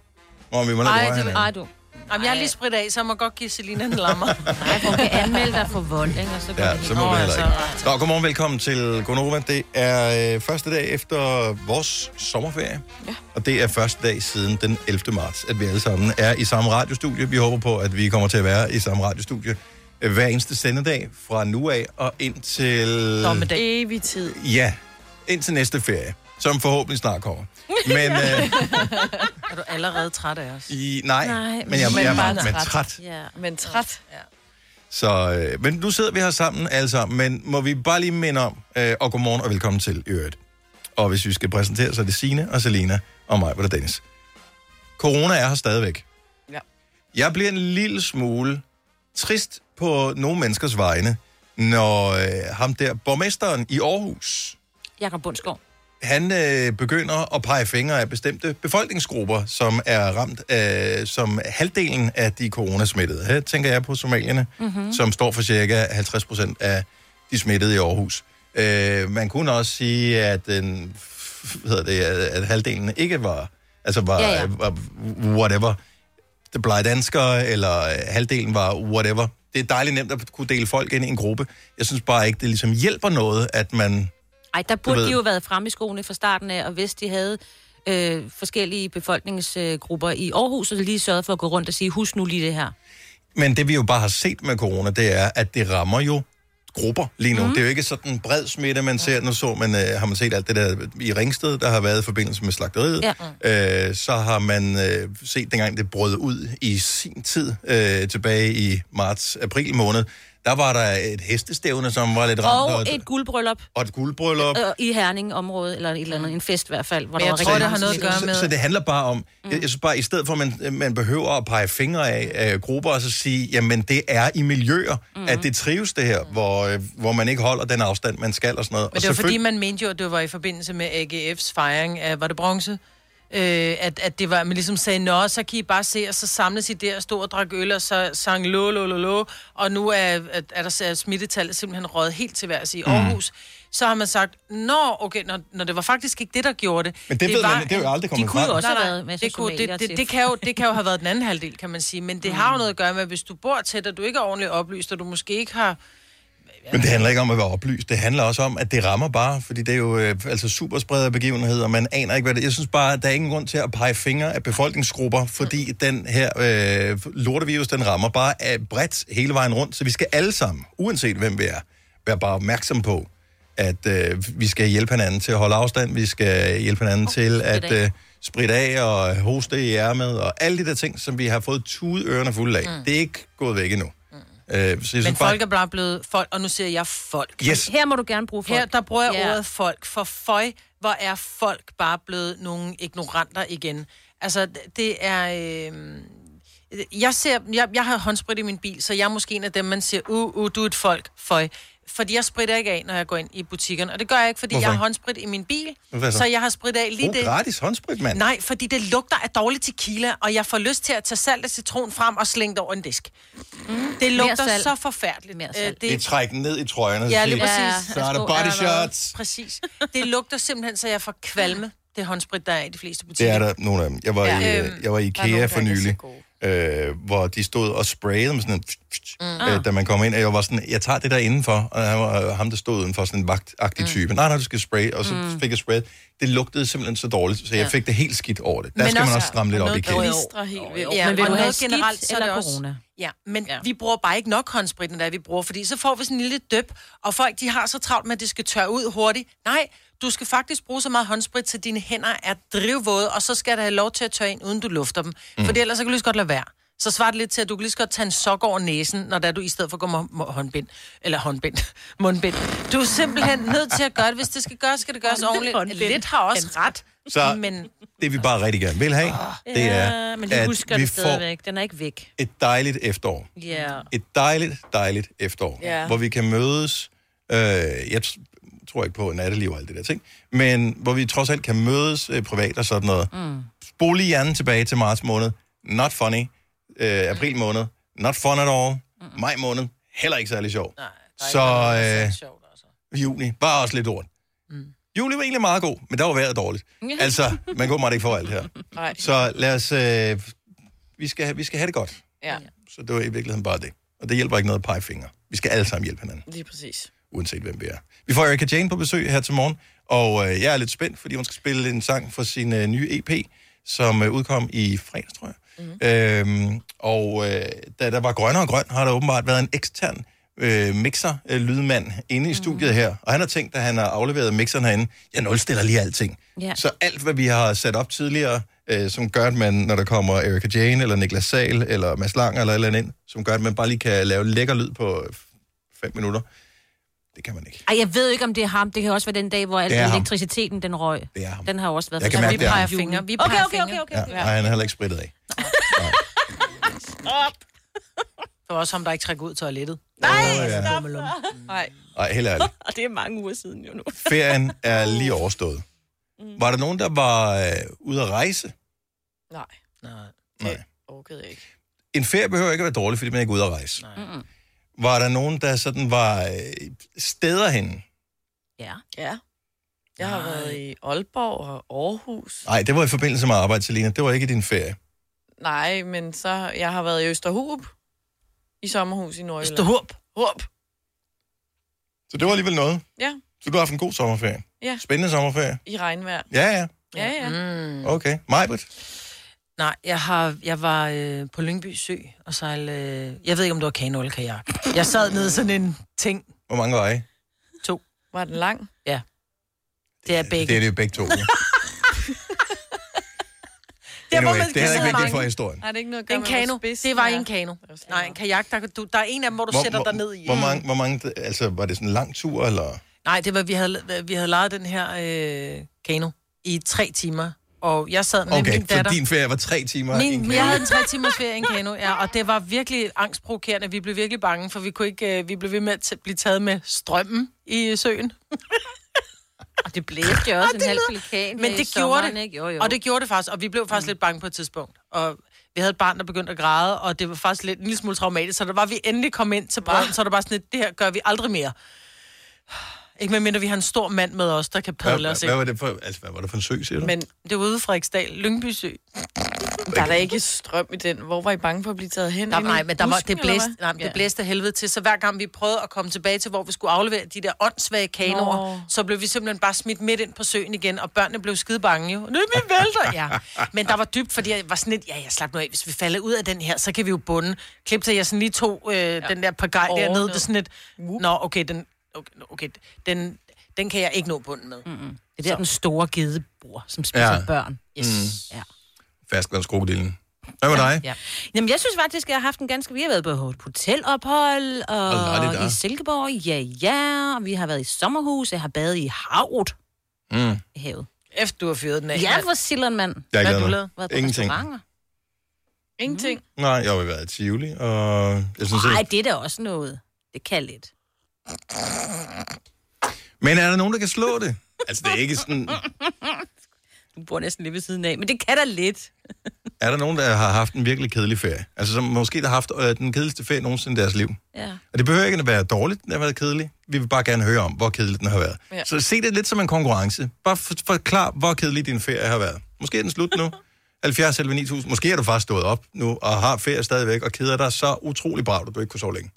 Nå, vi må lade røre Ej, det, hinanden. ej, du. Jamen, jeg har lige spridt af, så jeg må godt give Selina en [laughs] lammer. Nej, hun kan anmelde dig for vold, ikke? Og så går Ja, det så helt- må vi Nå, heller altså. ikke. Nå, godmorgen, velkommen til Gonova. Det er øh, første dag efter vores sommerferie. Ja. Og det er første dag siden den 11. marts, at vi alle sammen er i samme radiostudie. Vi håber på, at vi kommer til at være i samme radiostudie øh, hver eneste sendedag fra nu af og indtil... Dommedag. Evig tid. Ja, indtil næste ferie, som forhåbentlig snart kommer. Men [laughs] øh, er du allerede træt af os? i, nej, nej, men jeg, jeg, jeg er bare men træt. Ja. Men træt. Ja. Så, øh, men nu sidder vi her sammen alle sammen, men må vi bare lige minde om, øh, og godmorgen og velkommen til i øvrigt. Og hvis vi skal præsentere, så er det Signe og Selina og mig, hvor der Dennis. Corona er her stadigvæk. Ja. Jeg bliver en lille smule trist på nogle menneskers vegne, når øh, ham der, borgmesteren i Aarhus, Jakob Bundskov. han øh, begynder at pege fingre af bestemte befolkningsgrupper, som er ramt af, som halvdelen af de coronasmittede. Her tænker jeg på somalierne, mm-hmm. Mhm. som står for cirka 50 procent af de smittede i Aarhus. Øh, man kunne også sige, at, den, hvad hedder det, at- at halvdelen ikke var, altså var, Ja, ja, ja. ja. var whatever, det blege danskere, eller øh, halvdelen var whatever. Det er dejligt nemt at kunne dele folk ind i en gruppe. Jeg synes bare ikke, det ligesom hjælper noget, at man... Ej, der burde ved- de jo været fremme i skoene fra starten af, og hvis de havde øh, forskellige befolkningsgrupper i Aarhus, så lige sørget for at gå rundt og sige, husk nu lige det her. Men det vi jo bare har set med corona, det er, at det rammer jo grupper lige Mhm. nu. Mm. Det er jo ikke sådan en bred smitte, man ser. Nu så man, øh, har man set alt det der i Ringsted, der har været i forbindelse med slagteriet. Ja. Øh, så har man øh, set dengang, det brød ud i sin tid, øh, tilbage i marts-april måned. Der var der et hestestævne, som var lidt ramt. Og et guldbryllup og et guldbryllup. øh, i Herning-området, eller et eller andet, en fest i hvert fald, hvor der var Så- rigtig mange så- mennesker. så, Så, så det handler bare om, mm. jeg, jeg synes bare, i stedet for, at man, man behøver at pege fingre af, af grupper, og så sige, jamen det er i miljøer, mm. at det trives det her, hvor, øh, hvor man ikke holder den afstand, man skal og sådan noget. Men og det var fordi, selvfølgelig- man mente jo, at det var i forbindelse med AGF's fejring af, var det bronze? Øh, at, at det var, at man ligesom sagde, nå, så kan I bare se, og så samles I der og stod og drak øl, og så sang lå, lå, lå, lå, og nu er, er, er der er smittetallet simpelthen røget helt til værs i Mm. Aarhus. Så har man sagt, nå, okay, når, når det var faktisk ikke det, der gjorde det. Men det ved man- det er jo aldrig at- kommet de kunne frem. jo også Nej, have nej, været masser det, kunne, somalier det, det, til. Mhm. det, kan jo, det kan jo have været den anden halvdel, kan man sige, men det mm. har jo noget at gøre med, hvis du bor tæt, og du ikke er ordentligt oplyst, og du måske ikke har Men det handler ikke om at være oplyst, det handler også om, at det rammer bare, fordi det er jo øh, altså superspreder begivenheder, og man aner ikke, hvad det er. Jeg synes bare, at der er ingen grund til at pege fingre af befolkningsgrupper, fordi den her øh, lortevirus, den rammer bare af bredt hele vejen rundt, så vi skal alle sammen, uanset hvem vi er, Vær bare opmærksom på, at øh, vi skal hjælpe hinanden til at holde afstand, vi skal hjælpe hinanden oh, til at af. øh, spritte af og hoste i ærmet, og alle de der ting, som vi har fået tude ørerne fulde af. Mm. Mm. Det er ikke gået væk endnu. Mm. Øh, så jeg synes Men folk er bare blevet folk, og nu siger jeg folk. Yes. Her må du gerne bruge folk. Her, der bruger jeg Ja. ordet folk, for føj, hvor er folk bare blevet nogle ignoranter igen. Altså, d- det er... Øh, jeg, ser, jeg, jeg har håndsprit i min bil, så jeg er måske en af dem, man siger, uh, uh, du er et folk, føj. Fordi jeg spritter ikke af, når jeg går ind i butikken. Og det gør jeg ikke, fordi Hvorfor jeg har ikke? håndsprit i min bil. Hvad så? Så jeg har spridt af lige Brug det. gratis håndsprit, mand. Nej, fordi det lugter af dårlig tequila, og jeg får lyst til at tage salt og citron frem og slænge det over en disk. Mm. Det Mere lugter salt. så forfærdeligt. Øh, Det, det er træk den ned i trøjerne. Ja, så lige siger, præcis. Så er der body shots. Præcis. Det lugter simpelthen, så jeg får kvalme. Det håndsprit, der er i de fleste Det butikker. er der nogle af dem. Jeg var, Ja. ja. i, Øhm, øh, jeg var i der er nogle, IKEA der for ikke er så nylig, øh, hvor de stod og sprayede med sådan en, Mm. øh, da man kom ind, og jeg var sådan, jeg tager det der indenfor, og han var, øh, ham, der stod udenfor, sådan en vagtagtig type. Nej, nej, du skal spraye, og så Mm. fik jeg sprayet. Det lugtede simpelthen så dårligt, så jeg Ja. fik det helt skidt over det. Der Men skal man også- også stramme lidt op i kæden. klistrer helt vildt. Ja, Men men vil og du have noget skidt generelt, så er det eller også... corona? Ja, men ja. vi bruger bare ikke nok håndspritten, der vi bruger, fordi så får vi sådan en lille døb, og folk de har så travlt med, at det skal tørre ud hurtigt. Nej, du skal faktisk bruge så meget håndsprit, så dine hænder er drivvåde, og så skal der have lov til at tørre ind, uden du lufter dem. Mm. For ellers så kan du lige så godt lade være. Så svarer det lidt til, at du kan lige så godt tage en sok over næsen, når der du i stedet for går med hå- håndbind. Eller håndbind. [laughs] Mundbind. Du er simpelthen nødt til at gøre det. Hvis det skal gøres, skal det gøres ordentligt. Lidt har også ret. Så- Men Det vi bare rigtig gerne vil have, Ah. det er, ja, men de husker at vi det får stadigvæk. Den er ikke væk. et dejligt efterår. Ja. et dejligt, dejligt efterår, Ja. hvor vi kan mødes. Øh, jeg t- tror ikke på natteliv og alt det der ting, men hvor vi trods alt kan mødes øh, privat og sådan noget. Mm. Spol lige hjernen tilbage til marts måned. Not funny. Øh, april måned. Not fun at all. Mm. Maj måned. Heller ikke særlig sjov. Nej, så øh, juni var også lidt lort. Mm. Juli var egentlig meget god, men der var vejret dårligt. altså, man går meget ikke for alt her. Nej. Så lad os... Øh, vi, skal, have- vi skal have det godt. Ja, Så det var i virkeligheden bare det. Og det hjælper ikke noget at pege fingre. Vi skal alle sammen hjælpe hinanden, lige præcis. uanset hvem vi er. Vi får Erika Jane på besøg her til morgen, og øh, jeg er lidt spændt, fordi hun skal spille en sang fra sin øh, nye EP, som øh, udkom i fredags, tror jeg. Mm. Øhm, og øh, da der var grønnere og grøn, har der åbenbart været en ekstern øh, mixer-lydmand inde i studiet her. Og han har tænkt, at han har afleveret mixeren herinde, jeg nulstiller lige alting. Ja. Så alt, hvad vi har sat op tidligere, øh, som gør, at man, når der kommer Erika Jane, eller Niklas Sal eller Mads Lang, eller et eller andet ind, som gør, at man bare lige kan lave lækker lyd på 5 minutter, det kan man ikke. Ej, jeg ved jo ikke, om det er ham. Det kan også være den dag, hvor al Det er ham. elektriciteten den røg. Det er ham. Den har jo også været... Jeg kan mærke, vi det er peger ham. fingre. Vi Okay, peger okay, fingre. okay, okay. Ja. Og han er heller ikke spritet af. Stop. Det var også ham, der ikke trækker ud toilettet. Åh, ja. Nej. Ej, helt ærligt. [laughs] Og det er mange uger siden jo nu. Ferien er lige overstået. Var der nogen, der var øh, ude at rejse? Nej, Nej. Nej. orkede jeg ikke. En ferie behøver ikke at være dårlig, fordi man er ikke er ude at rejse. Nej. Mm-mm. Var der nogen, der sådan var øh, steder henne? Ja. Ja. Jeg har været i Aalborg og Aarhus. Nej, det var i forbindelse med arbejde, Selina. Det var ikke i din ferie. Nej, men så jeg har været i Østerhub. I sommerhus i Nordjylland. Østerhub? Hub. Så det var alligevel noget. Ja, Så du har haft en god sommerferie. ja. Spændende sommerferie. I regnvejr. Ja, ja. Ja, ja. Mm. Okay. Majbert? Nej, jeg, har, jeg var øh, på Lyngby Sø og sejlede... Øh, jeg ved ikke, om det var kano eller kajak. Jeg sad nede i sådan en ting. Hvor mange var I? To. Var den lang? Ja. Det er begge. Det er det jo begge to. [laughs] Ja. Der, hvor Anyway, man det er heller ikke sidde vigtigt for mange. historien. Nej, det er ikke noget en kano. Det var i en kano. Nej, en kajak. Der, kan du, der er en af dem, hvor du hvor, sætter dig ned i. Hvor mange, hvor mange, altså, var det sådan en lang tur, eller? Nej, det var, vi havde, vi havde lejet den her øh, kano i tre timer. Og jeg sad med Okay, min så datter. din ferie var tre timer. i en Min, kano. jeg havde en tre timers ferie i en kano, ja, og det var virkelig angstprovokerende. Vi blev virkelig bange, for vi, kunne ikke, øh, vi blev ved med at t- blive taget med strømmen i [laughs] øh, søen. og det blæste jo også en halv pelikan Men her det i gjorde sommeren, det, ikke? Jo, jo. og det gjorde det faktisk, og vi blev faktisk mm. lidt bange på et tidspunkt. Og vi havde et barn, der begyndte at græde, og det var faktisk lidt, en lille smule traumatisk, så der var vi endelig kom ind til brønden, så var det bare sådan lidt, det her gør vi aldrig mere. Ikke medmindre vi har en stor mand med os, der kan padle hvad, os hvad, ind. var det for, altså, hvad var det for en sø, siger du? Men det var ude fra Frederiksdal, Lyngby Sø. Der er da ikke strøm i den. Hvor var I bange for at blive taget hen? Der, Ind i nej, men der var, busken, det, eller blæste, hvad? nej, men det blæste af helvede til, så hver gang vi prøvede at komme tilbage til, hvor vi skulle aflevere de der åndssvage kanoer, Nå. så blev vi simpelthen bare smidt midt ind på søen igen, og børnene blev skide bange jo. Nu er vi vælter, [laughs] ja. Men der var dybt, fordi jeg var sådan lidt, ja, jeg slap nu af, hvis vi falder ud af den her, så kan vi jo bunde. Klip til, jeg sådan lige tog øh, den der par gej Åh, dernede, ned. det er sådan lidt, nå, okay, den okay, okay den, den kan jeg ikke nå bunden med. Mm-hmm. Det er der, den store gede bor, som spiser Ja. ja. børn. Yes. Mm. Ja. Fastlandskrokodillen. Hvad med dig? Ja. Jamen, jeg synes faktisk, at jeg har haft en ganske... Vi har været på et hotelophold og, Og la di da. i Silkeborg. Ja, ja. Og vi har været i sommerhus. Jeg har badet i havet. Mm. I havet. Efter du har fyret den af. Ja, for Silland, mand. Jeg har Hvad har ikke lavet du noget. lavet? Været på Ingenting. restauranter? Ingenting. Nej, jeg har jo været i Tivoli, og jeg synes, Nej, at... det er da også noget. Det kan lidt. Men er der nogen, der kan slå det? Altså, det er ikke sådan... Du bor næsten lige ved siden af, men det kan da lidt. Er der nogen, der har haft en virkelig kedelig ferie? Altså, som måske der har haft øh, den kedeligste ferie nogensinde i deres liv. Ja. Og det behøver ikke at være dårligt, den har været kedelig. Vi vil bare gerne høre om, hvor kedelig den har været. Ja. Ja. Så se det lidt som en konkurrence. Bare for, forklar, hvor kedelig din ferie har været. Måske er den slut [laughs] nu. 70 eller 9000. Måske er du faktisk stået op nu og har ferie stadigvæk og keder dig så utrolig bravt, at du ikke kunne sove længe.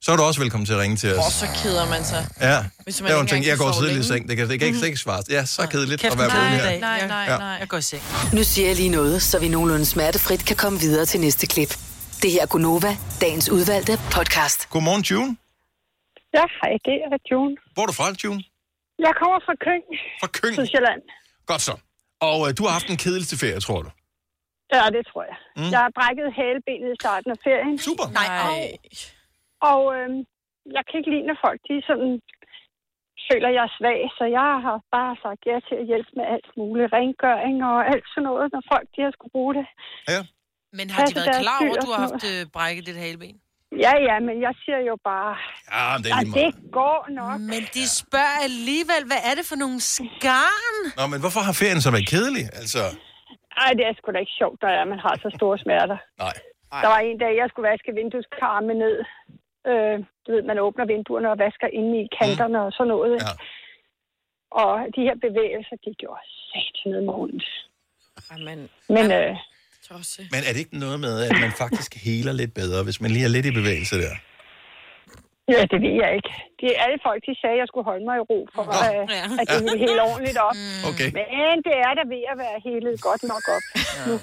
Så er du også velkommen til at ringe til os. Og så keder man sig. Ja, Hvis Hvis man man det var en ikke ting. engang Jeg kan går sove tidligt i længe. Mhm. seng. Det kan, det kan ikke, det kan ikke svares. Ja, så kedeligt at være vågen nej, her. nej, nej, Ja. nej. Jeg går i seng. Nu siger jeg lige noget, så vi nogenlunde smertefrit kan komme videre til næste klip. Det her er Gunova, dagens udvalgte podcast. Godmorgen, June. Ja, hej, det er June. Hvor er du fra, June? Jeg kommer fra Køng. Fra Køng? Sydsjælland. Godt så. Og øh, du har haft en kedeligste ferie, tror du. Ja, det tror jeg. Mm. Mm. Jeg har brækket halebenet i starten af ferien. Super. Nej. Og, og øhm, jeg kan ikke lide, når folk de sådan føler, jeg er svag, så jeg har bare sagt ja til at hjælpe med alt muligt. Rengøring og alt sådan noget, når folk de har skulle bruge det. Men har de Passe været deres klar dyr over, at og du har sådan haft øh, brækket dit haleben? Ja, ja, men jeg siger jo bare, Ja, det er at lige det meget. går nok. Men de spørger alligevel, hvad er det for nogle skarn? Nå, men hvorfor har ferien så været kedelig? Altså, Ej, det er sgu da ikke sjovt, når det er, man har så store smerter. nej. Der var en dag, jeg skulle vaske vindueskarme ned. Øh, du ved, man åbner vinduerne og vasker inde i kanterne og sådan noget. Ja. Og de her bevægelser, de gjorde sat ned med ondt. Jamen, Men øh, tosse. Men er det ikke noget med, at man faktisk heler lidt bedre, hvis man lige er lidt i bevægelse der? ja, det ved jeg ikke. De, alle folk, de sagde, at jeg skulle holde mig i ro for, øh, at det ville helt ordentligt op. Mm. Okay. Men det er da ved at være helet godt nok op. Nu,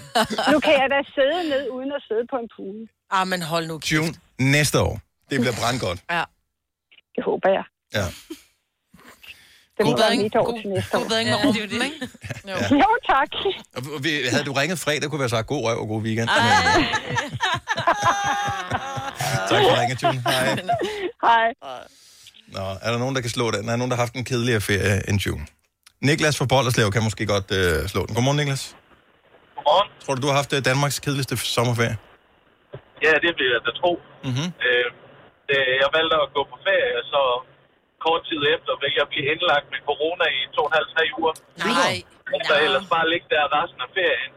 nu kan jeg da sidde ned uden at sidde på en pude. Ah, men hold nu kæft. June, næste år. Det bliver brandgodt. Ja. Det håber jeg. Ja. Det må God være bedring. mit år til næste år. God bedring med Ja, rumpen, ikke? Jo, tak. Og vi- Havde du ringet fredag, kunne vi have sagt god røv og god weekend. Ah. Men, øh, tak for ringet, June. Hej. Hej. Nå, er der nogen, der kan slå den? Er der nogen, der har haft en kedeligere ferie end June? Niklas fra Bollerslev kan måske godt øh, slå den. Godmorgen, Niklas. Godmorgen. Tror du, du har haft øh, Danmarks kedeligste f- sommerferie? Ja, det vil jeg da tro. Mhm. Øh, øh, jeg valgte at gå på ferie, og så kort tid efter fik jeg blive indlagt med corona i to og en halv, tre uger. Nej. Og så ellers bare ligge der resten af ferien.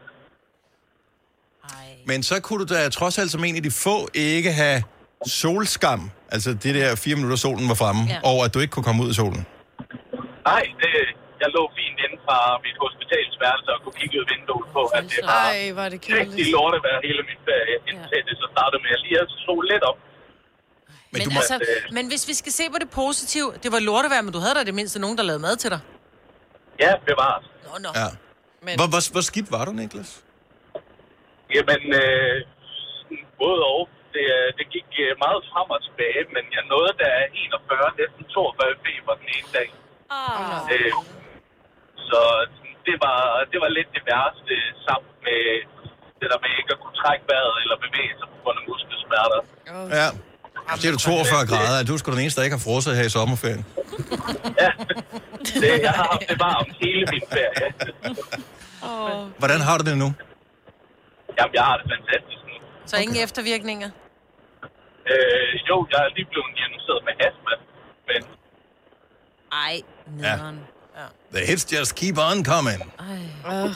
Men så kunne du da trods alt som en af de få ikke have solskam. Altså det der fire minutter solen var fremme, ja. Ja. og at du ikke kunne komme ud i solen. Nej, det, jeg lå fint inde fra mit hospitalsværelse og kunne kigge ud vinduet på, at det var Ej, hvor er det rigtig kedeligt. lort at være hele min ferie, indtil det så startede med, at jeg lige havde solet lidt op. øh, Men, men, altså, men hvis vi skal se på det positive, det var lort at være, men du havde da i det mindste nogen, der lavede mad til dig. Ja, bevares. Nå, nå. Ja. Men- Hvor, hvor, hvor skidt var du, Niklas? Jamen, øh, sådan både og. Det, øh, det gik øh, meget frem og tilbage, men jeg nåede der 41, næsten 42 feber den ene dag. Ah. Øh, så sådan, det var, det var lidt det værste, sammen med det der med ikke at kunne trække vejret eller bevæge sig på grund af muskelsmerter. Ja. Det er du 42 grader, og du er sgu den eneste, der ikke har frosset her i sommerferien. Det, jeg har haft det varmt hele min ferie. Hvordan har du det nu? Jamen, jeg har det fantastisk nu. Så ingen eftervirkninger. Øh, jo, jeg er lige blevet diagnosticeret med astma, men Ej, nederen. Ja. The hits just keep on coming. Ej. Øh,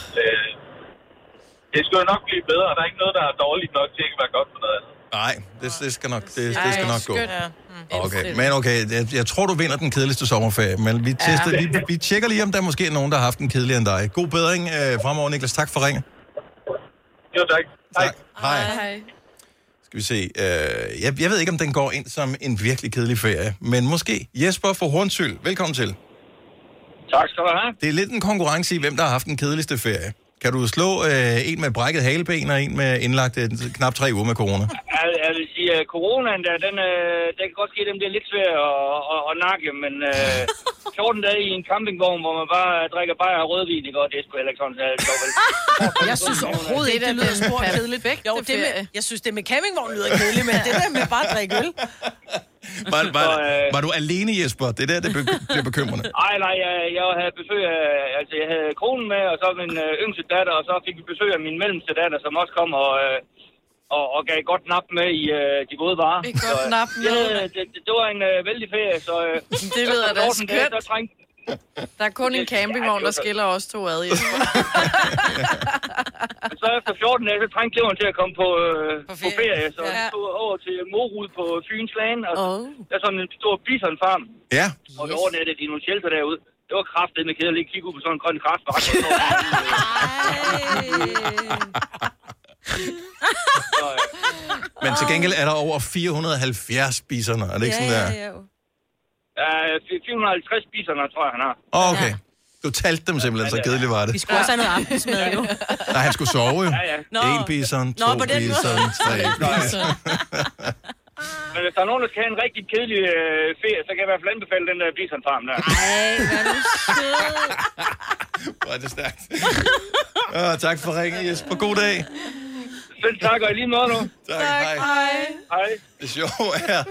det skal jo nok blive bedre. Der er ikke noget, der er dårligt nok til ikke at være godt for noget andet. Nej, det, det skal nok, det, det Ej, skal nok gå. skønt. Ja. Mm. Okay, men okay, jeg, jeg tror, du vinder den kedeligste sommerferie, men vi, tester, Ja. ja. vi, vi tjekker lige, om der måske er nogen, der har haft en kedeligere end dig. God bedring øh, fremover, Niklas. Tak for ringen. Jo, tak. tak. Hej. Skal vi se. Øh, jeg, jeg ved ikke, om den går ind som en virkelig kedelig ferie, men måske. Jesper fra Hornsyl, velkommen til. Tak skal du have. Det er lidt en konkurrence i, hvem der har haft den kedeligste ferie. Kan du slå øh, en med brækket haleben og en med indlagt øh, knap tre uger med corona? Jeg, jeg vil sige, at coronaen der, den, øh, den kan godt ske, at den bliver lidt svær at, at, at nakke, men øh, 14 dage i en campingvogn, hvor man bare drikker bajer og rødvin, det går, det er sgu heller ikke sådan, så er det sjovt, vel? Jeg synes overhovedet ikke, det lyder spor kedeligt. Jo, det med, jeg synes, det med campingvogn lyder kedeligt, men det der med bare at drikke [laughs] øl. Var, var, øh, var du alene, Jesper? Det er der, det be, bliver bekymrende. Nej, nej, jeg, jeg havde besøg af, altså jeg havde kronen med, og så min øh, yngste datter, og så fik vi besøg af min mellemste datter, som også kom og, øh, og, og gav et godt nap med i øh, de gode varer. Et godt øh, nap med. Det, det, det, det var en øh, vældig ferie, så... Øh, [laughs] Det lyder da efter 14 dage, skønt. der trængte- Der er kun en campingvogn, der skiller os to ad. Jesper. så efter 14 dage, så trængte leveren til at komme på, øh, på, ferie. på ferie, så Ja. ja. tog jeg over til Morud på Fyns Land, og oh. der er sådan en stor bisonfarm. Ja. Og vi overnattede i nogle shelter derude. Det var kraftet med kedeligt at kigge ud på sådan en grøn [laughs] kraftbakke. Men til gengæld er der over 470 biserne, er det ikke sådan der? ja. Uh, 450 biserne, tror jeg, han har. Åh, okay. Du talte dem simpelthen, så kedeligt var det. også have noget aftensmad, jo. Nej, han skulle sove jo. Ja, ja. Nå. En bison, Nå, to på den måde. bison, [laughs] tre bison. Men hvis der er nogen, der skal have en rigtig kedelig øh, ferie, så kan jeg i hvert fald anbefale den der bisonfarm der. Ej, hvad er du sød. Hvor er det stærkt. Åh, tak for ringen, Jesper. God dag. Selv tak, og i lige måde nu. Tak, hej. Hej. Hej. Det sjove er,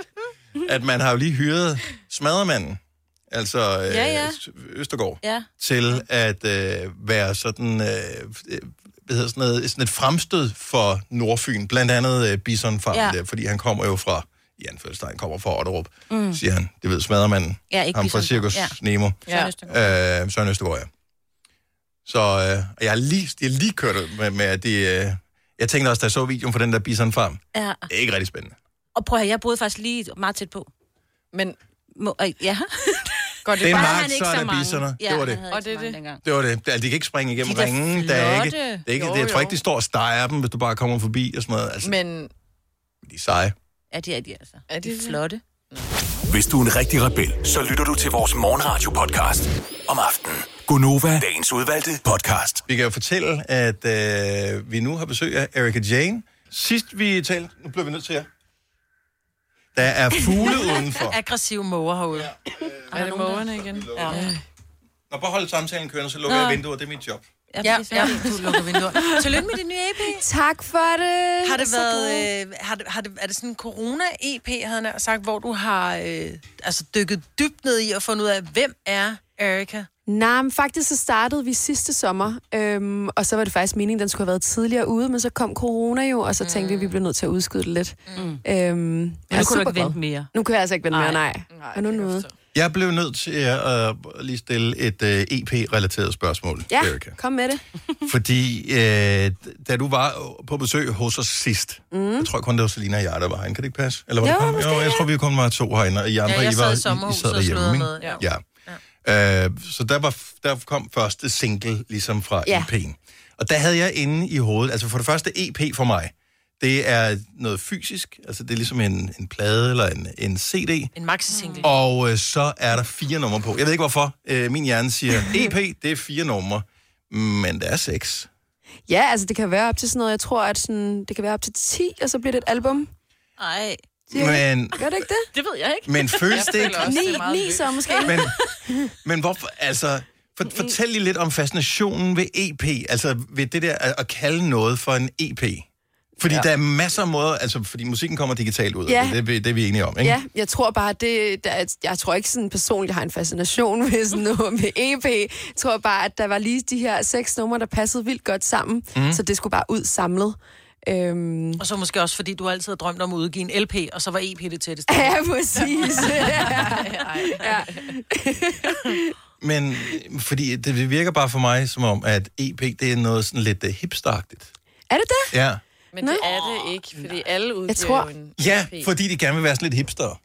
at man har jo lige hyret smadermanden, altså øh, Ja, ja. Østergaard, Ja. til at øh, være sådan, øh, øh, hvad hedder sådan, noget, sådan et fremstød for Nordfyn, blandt andet øh, Bisonfarm, Ja. ja. der, fordi han kommer jo fra, i anførselstegn kommer fra Otterup, Mm. mm. siger han. Det ved smadermanden. Ja, ikke Ham fra Bisonfarm. Cirkus Ja. ja. Nemo. Søren Øh, Søren Østergaard, ja. Så øh, og jeg har lige, jeg har lige kørt ud med, med at det... Øh, jeg tænkte også, da jeg så videoen for den der Bisonfarm, Ja. det er ikke rigtig spændende. Og prøv at høre, jeg boede faktisk lige meget tæt på. Men... Må, øh, ja. Går det Det er bare- en mark, så er der biserne. Det var det. Og det er det. Det var det. Det- altså, De kan ikke springe igennem De er da ringen. Der er ikke, flotte. det er ikke, Jo, det, jeg tror jo. ikke, de står og steger dem, hvis du bare kommer forbi og sådan noget. Altså, Men de er seje. Ja, det er de altså. Er de flotte? Hvis du er en rigtig rebel, så lytter du til vores morgenradio-podcast om aftenen. Gunova, dagens udvalgte podcast. Vi kan jo fortælle, at øh, vi nu har besøg af Erika Jane. Sidst vi talte, nu bliver vi nødt til jer. Der er [laughs] fugle udenfor. Aggressive måger herude. Ja. Er det mågerne igen? Ja. Når bare holde samtalen kørende, så lukker Nå. jeg vinduet. Det er mit job. Ja, ja, ja, du lukker [laughs] vinduer. Tillykke med det nye EP. Tak for det. Har det Så været, øh, har det, har det, er det sådan en corona-EP, havde han nær sagt, hvor du har øh, altså dykket dybt ned i og fundet ud af, hvem er Erika? Nej, men faktisk så startede vi sidste sommer, øhm, og så var det faktisk meningen, den skulle have været tidligere ude, men så kom corona jo, og så tænkte vi, at vi blev nødt til at udskyde det lidt. Mm. Øhm, jeg er kunne du super ikke glad. vente mere. Nu kan jeg altså ikke vente mere, Nej. nej. nej og nu noget. Jeg blev nødt til at øh, lige stille et øh, EP-relateret spørgsmål, Ja, Erika. kom med det. Fordi øh, da du var på besøg hos os sidst, mm. jeg tror kun, det var Selina og jeg, der var herinde. Kan det ikke passe? Eller var Jo, det kun? måske, jo, jeg tror, vi kun var to herinde, og I andre, Ja, jeg I sad var, i I- sommerhuset I sad og sludrede derhjemme, med, ikke? Ja. ja. Øh, så der, var, der kom første single ligesom fra Ja. ja. EP'en. Og der havde jeg inde i hovedet, altså for det første EP for mig, det er noget fysisk, altså det er ligesom en, en plade eller en, en CD. En maxi-single. Og øh, så er der fire numre på. Jeg ved ikke hvorfor. Øh, min hjerne siger, EP, det er fire numre, men der er seks. Ja, altså det kan være op til sådan noget, jeg tror, at sådan, det kan være op til 10, og så bliver det et album. Nej. Men, Gør det ikke det? Det ved jeg ikke. [laughs] Men føles det ikke... Ni, ni så måske. Men, men hvorfor... Altså, for, fortæl lige lidt om fascinationen ved EP. Altså, ved det der at, at kalde noget for en EP. Fordi Ja. ja. der er masser af måder... Altså, fordi musikken kommer digitalt ud. Ja. Ja. Det, er vi- det er vi enige om, ikke? Ja, jeg tror bare, det, der, er- jeg tror ikke sådan personligt, jeg har en fascination [laughs] med sådan noget med EP. Jeg tror bare, at der var lige de her seks numre, der passede vildt godt sammen, mm. Mm. så det skulle bare ud samlet. Øhm, Og så måske også, fordi du altid har drømt om at udgive en LP, og så var EP det tætteste. Ja, præcis. [laughs] ja. Men øh, fordi det virker bare for mig som om, at EP, det er noget sådan lidt uh, hipsteragtigt. Er det det? Ja. Men det er det ikke, fordi alle udgiver jo en Ja, EP. fordi de gerne vil være sådan lidt hipster.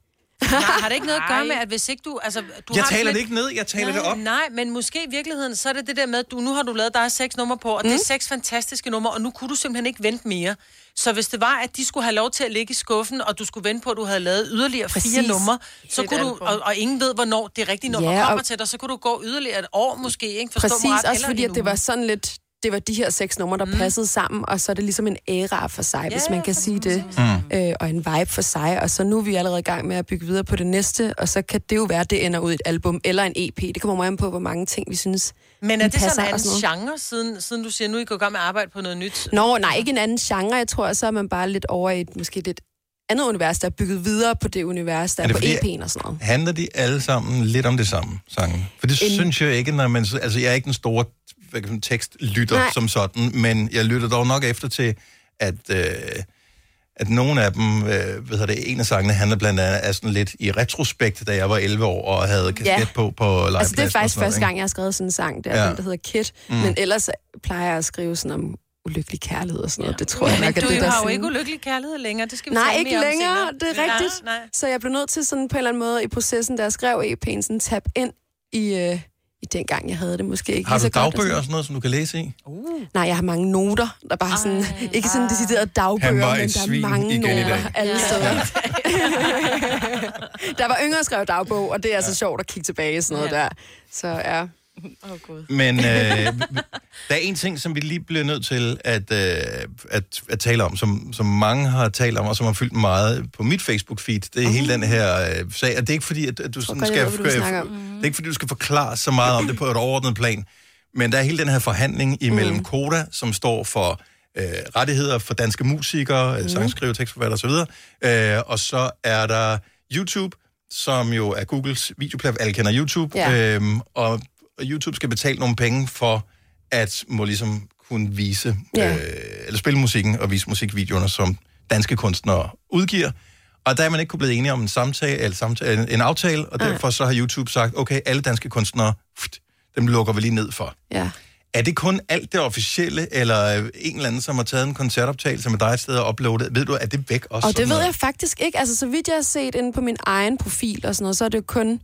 Nej, har det ikke noget at gøre med, at hvis ikke du... Altså, du Jeg har taler sådan det ikke ned, jeg taler nej, det op. Nej, men måske i virkeligheden, så er det det der med, at du, nu har du lavet dig seks numre på, og mm. det er seks fantastiske numre, og nu kunne du simpelthen ikke vente mere. Så hvis det var, at de skulle have lov til at ligge i skuffen, og du skulle vente på, at du havde lavet yderligere Præcis. fire Præcis. numre, Det er så et kunne du, album. og, og ingen ved, hvornår det rigtige nummer Ja, ja, og- kommer til dig, så kunne du gå yderligere et år måske, ikke? Forstå mig Præcis, ret, også eller fordi en at det uge. var sådan lidt det var de her seks numre, Mhm. der mm. passede sammen, og så er det ligesom en æra for sig, hvis man kan sige det, mm. øh, og en vibe for sig, og så nu er vi allerede i gang med at bygge videre på det næste, og så kan det jo være, at det ender ud i et album eller en EP. Det kommer meget an på, hvor mange ting vi synes, Men er den det sådan en passer og noget. anden genre, siden, siden du siger, nu I går i gang med at arbejde på noget nyt? Nå, nej, ikke en anden genre. Jeg tror, så er man bare lidt over i et måske lidt andet univers, der er bygget videre på det univers, der er, er på EP'en og sådan noget. handler de alle sammen lidt om det samme, sangen? For det en... En- synes jeg ikke, når man... Altså, jeg er ikke den store hvad kan man, tekstlytter Nej. Nej. som sådan, men jeg lytter dog nok efter til, at, øh, at nogle af dem, øh, hvad hedder det, en af sangene handler blandt andet af sådan lidt i retrospekt, da jeg var 11 år og havde kasket ja. på på legepladsen. altså, det er og faktisk sådan noget, første ikke? gang, jeg har skrevet sådan en sang, der, Ja. ja. den, der hedder Kid. Mm. Mm. Men ellers plejer jeg at skrive sådan om ulykkelig kærlighed og sådan noget. Det tror jeg Men nok, at du det der har jo sådan- ikke ulykkelig kærlighed længere, det skal vi Nej, tale ikke mere om længere. senere. Det er Nej, rigtigt. Nej, Så jeg blev nødt til sådan på en eller anden måde i processen, der jeg skrev EP'en, sådan tab ind i, øh, i den gang, jeg havde det måske ikke Har lige du så godt og sådan dagbøger noget. og sådan noget, som du kan læse i? Nej, jeg har mange noter, der bare sådan, Ej, ikke sådan deciderede dagbøger, Han men der var et er svin mange igen i noter dag. alle Ja. steder. [laughs] der var yngre, skrev dagbog, og det er altså sjovt at kigge tilbage i sådan noget der. Så ja. Åh, oh, Gud. [laughs] Men øh, der er en ting, som vi lige bliver nødt til at, øh, at, at tale om, som, som mange har talt om, og som har fyldt meget på mit Facebook-feed. Det er hele den her øh, sag, og det er ikke fordi, at, at du sådan godt, jeg skal... ved, hvad du snakker om. det er ikke fordi, du skal forklare så meget om det på et overordnet plan, men der er hele den her forhandling imellem mm. Koda, som står for øh, rettigheder for danske musikere, mm. sangskriver, tekstforfatter osv., øh, og så er der YouTube, som jo er Googles videoplatform, alle kender YouTube, Ja. øhm, og, og YouTube skal betale nogle penge for at må ligesom kunne vise, Ja. øh, eller spille musikken og vise musikvideoerne, som danske kunstnere udgiver. Og der er man ikke kunne blive enige om en, samtale, eller samtale, en- en aftale, og derfor så har YouTube sagt, okay, alle danske kunstnere, pft, dem lukker vi lige ned for. Ja. Er det kun alt det officielle, eller øh, en eller anden, som har taget en koncertoptagelse med dig et sted og uploadet? Ved du, er det væk også? Og det sådan ved noget? jeg faktisk ikke. Altså, så vidt jeg har set inde på min egen profil og sådan noget, så er det jo kun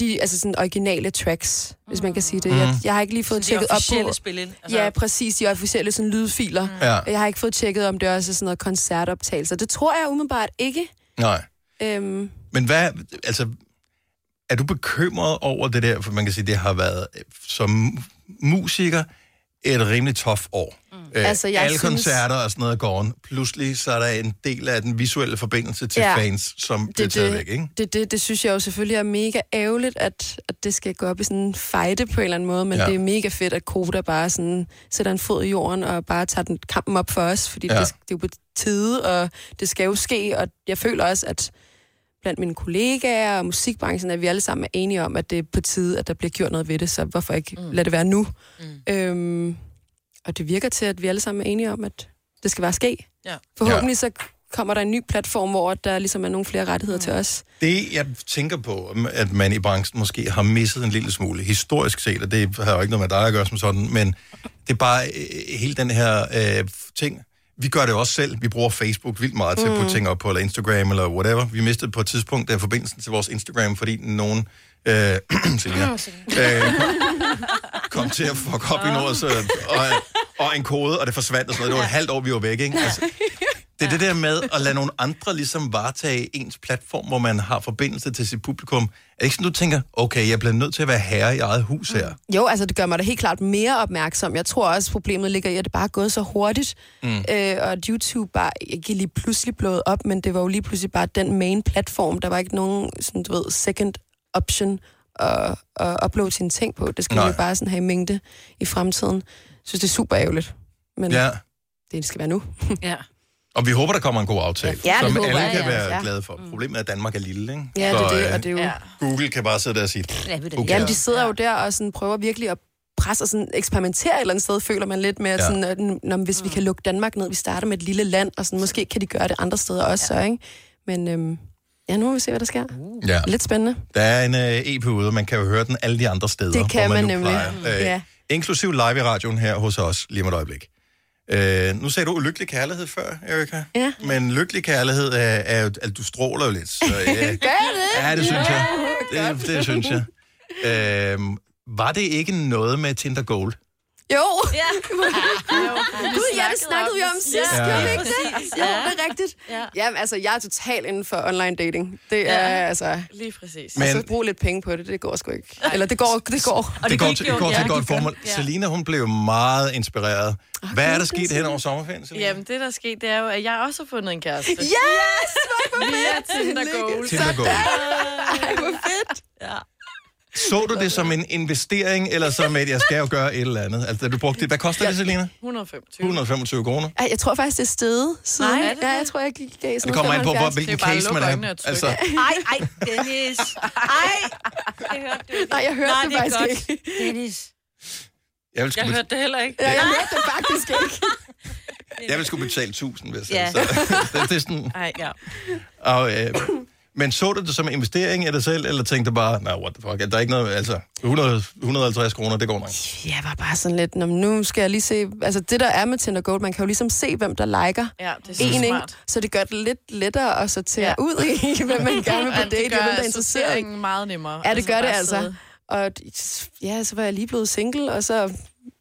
de altså sådan originale tracks, hvis man kan sige det. Jeg, Mhm. jeg har ikke lige fået Så de tjekket op officielle på... spil ind, altså- Altså... Ja, præcis. De officielle sådan, lydfiler. Ja. Jeg har ikke fået tjekket, om det også er sådan noget koncertoptagelser. Det tror jeg umiddelbart ikke. Nej. Øhm, Men hvad, altså, er du bekymret over det der, for man kan sige, det har været øh, som musiker et rimelig tof år. Mm. Altså, jeg alle synes- koncerter og sådan noget går on. Pludselig så er der en del af den visuelle forbindelse til ja. Ja. fans, som bliver taget væk, ikke? Det, det, det synes jeg jo selvfølgelig er mega ærgerligt, at, at det skal gå op i sådan en fejde på en eller anden måde, men Ja. ja. det er mega fedt, at Koda bare sådan sætter en fod i jorden og bare tager den kampen op for os, fordi Ja. ja. det, det er jo på tide, og det skal jo ske, og jeg føler også, at blandt mine kollegaer og musikbranchen, at vi alle sammen er enige om, at det er på tide, at der bliver gjort noget ved det, så hvorfor ikke mm. lade det være nu? Mm. Øhm, og det virker til, at vi alle sammen er enige om, at det skal bare ske. Ja. Forhåbentlig så kommer der en ny platform, hvor der ligesom er nogle flere rettigheder mm. til os. Det, jeg tænker på, at man i branchen måske har misset en lille smule, historisk set, og det har jo ikke noget med dig at gøre som sådan, men det er bare øh, hele den her øh, ting. Vi gør det også selv. Vi bruger Facebook vildt meget til at putte Mm. ting op på, eller Instagram, eller whatever. Vi mistede på et tidspunkt der forbindelsen til vores Instagram, fordi nogen... Øh, [clears throat] [laughs] Selina, Ah, øh, kom til at fuck op i noget, så, og, øh, og en kode, og det forsvandt og sådan noget. Det var et halvt år, vi var væk, ikke? Altså, det er det der med at lade nogle andre ligesom varetage ens platform, hvor man har forbindelse til sit publikum. Er det ikke sådan, du tænker, okay, jeg bliver nødt til at være herre i eget hus her? Jo, altså det gør mig da helt klart mere opmærksom. Jeg tror også, problemet ligger i, at det bare er gået så hurtigt, Mm. mm. øh, og at YouTube bare ikke lige pludselig blået op, men det var jo lige pludselig bare den main platform. Der var ikke nogen, sådan, du ved, second option at, at uploade sine ting på. Det skal man Nej. jo bare sådan have i mængde i fremtiden. Jeg synes, det er super ærgerligt, men ja. Ja, det skal være nu. ja. og vi håber, der kommer en god aftale, Ja, det som håber alle jeg, kan ja. være Ja. Mm. glade for. Problemet er, at Danmark er lille, ikke? [laughs] Ja, det er det, og det er jo- øh, Ja. Google kan bare sidde der og sige, Okay. Jamen, de sidder jo der og sådan prøver virkelig at presse og sådan eksperimentere et eller andet sted, føler man lidt med, at Ja. sådan, at, n- nå, men hvis vi kan lukke Danmark ned, vi starter med et lille land, og sådan, måske kan de gøre det andre steder også, ja. så, ikke? Men øhm, ja, nu må vi se, hvad der sker. Ja. Mm. Lidt spændende. Der er en øh, EP ude, og man kan jo høre den alle de andre steder, Det kan hvor man, man nu nemlig. Mm. plejer. Øh, Ja. Inklusiv live i radioen her hos os, lige om et øjeblik. Øh, nu sagde du ulykkelig kærlighed før, Erika. Ja. Men lykkelig kærlighed er, er jo, at du stråler jo lidt. Så, øh, Gør det? [laughs] ja, det synes jeg. Øhm, Det, det synes jeg. Øh, var det ikke noget med Tinder Gold? Jo. [laughs] Ja. Gud, ja, det snakkede vi om sidst. Ja. Ja. Gjorde vi Ja, ikke præcis. det? Jo, Øh. Ja. det er rigtigt. Ja. Jamen, altså, jeg er totalt inden for online dating. Det Ja. er, altså... Lige præcis. Men... Altså, brug lidt penge på det, det går sgu ikke. Eller det går, det går. det, går til, det går til et godt formål. Ja. Selina, hun blev meget inspireret. Hvad er der sket hen over sommerferien, Selina? Jamen, det der er sket, det er jo, at jeg også har fundet en kæreste. Yes! Hvor Via Tinder Gold. Tinder Gold. Ej, hvor fedt. Ja. Så du det som en investering, eller som et, jeg skal jo gøre et eller andet? Altså, da du brugte det. Hvad koster det, Selina? 125. 125 kroner. Ej, jeg tror faktisk, det er stedet siden. Nej, er det ja, det? jeg tror, jeg gik gav sådan Det kommer an på, hvor- 75. hvilken Det er bare at case man lukke er. øjnene og trykke. Altså- Ej, ej, Dennis. Ej. Det hørte du ikke. Nej, jeg hørte Nej, det faktisk er godt. ikke. Dennis. Jeg vil sgu, Jeg hørte det heller ikke. Ja, jeg hørte det faktisk [laughs] ikke. bet- jeg vil sgu betale 1000, hvis jeg Ja. så, [laughs] det er sådan, Ej, ja. og, øh, men så du det som en investering af dig selv, eller tænkte du bare, nej, what the fuck, der er ikke noget, altså 100, 150 kroner, det går nok. Jeg var bare sådan lidt, "Nå, men nu skal jeg lige se... Altså, det der er med Tinder Gold, man kan jo ligesom se, hvem der liker Ja, det er så en, ikke? smart. Så det gør det lidt lettere at sortere ja. ud i, [laughs] hvem man gerne vil Ja, på det date, gør og hvem der er interesseret. i. sorteringen meget nemmere. Ja, det gør det bare altså. sidde. Og ja, så var jeg lige blevet single, og så,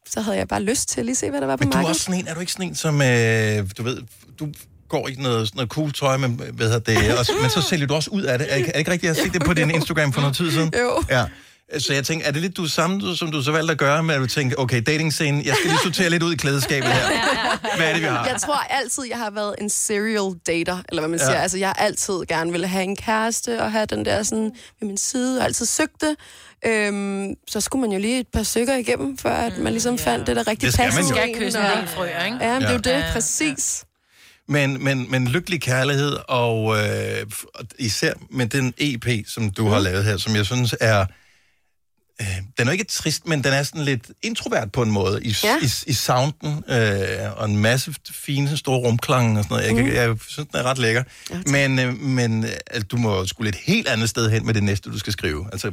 så havde jeg bare lyst til at lige se, hvad der var på Men du er markedet. også sådan en, er du ikke sådan en, som, øh, du ved, du går i noget, sådan noget cool tøj, men, hvad hedder det, og, men så sælger du også ud af det. Er, ikke- er det ikke rigtigt, jeg har set det på din Instagram for noget tid siden? Jo. Ja. Så jeg tænker, er det lidt du samme, du- som du så valgte at gøre, med at du tænker, okay, datingscenen, jeg skal lige sortere lidt ud i klædeskabet her. Hvad er det, vi har? Jeg tror altid, jeg har været en serial dater, eller hvad man Ja. ja. siger. Altså, jeg har altid gerne ville have en kæreste, og have den der sådan ved min side, og altid søgte. Øhm, så skulle man jo lige et par stykker igennem, før at man ligesom fandt det, der rigtig Det skal passede. man jo. en, Skal Mm, kysse og- en del frøer, ikke? Ja, men det er jo det, Ja. ja, præcis. Men, men, men lykkelig kærlighed, og øh, f- og især med den EP, som du har lavet her, som jeg synes er... Øh, den er ikke trist, men den er sådan lidt introvert på en måde, i, ja. i, i sounden, øh, og en masse fine, store rumklange og sådan noget. Jeg, mm. jeg, jeg synes, den er ret lækker. Ja, men øh, men øh, altså, du må skulle et helt andet sted hen med det næste, du skal skrive. Altså,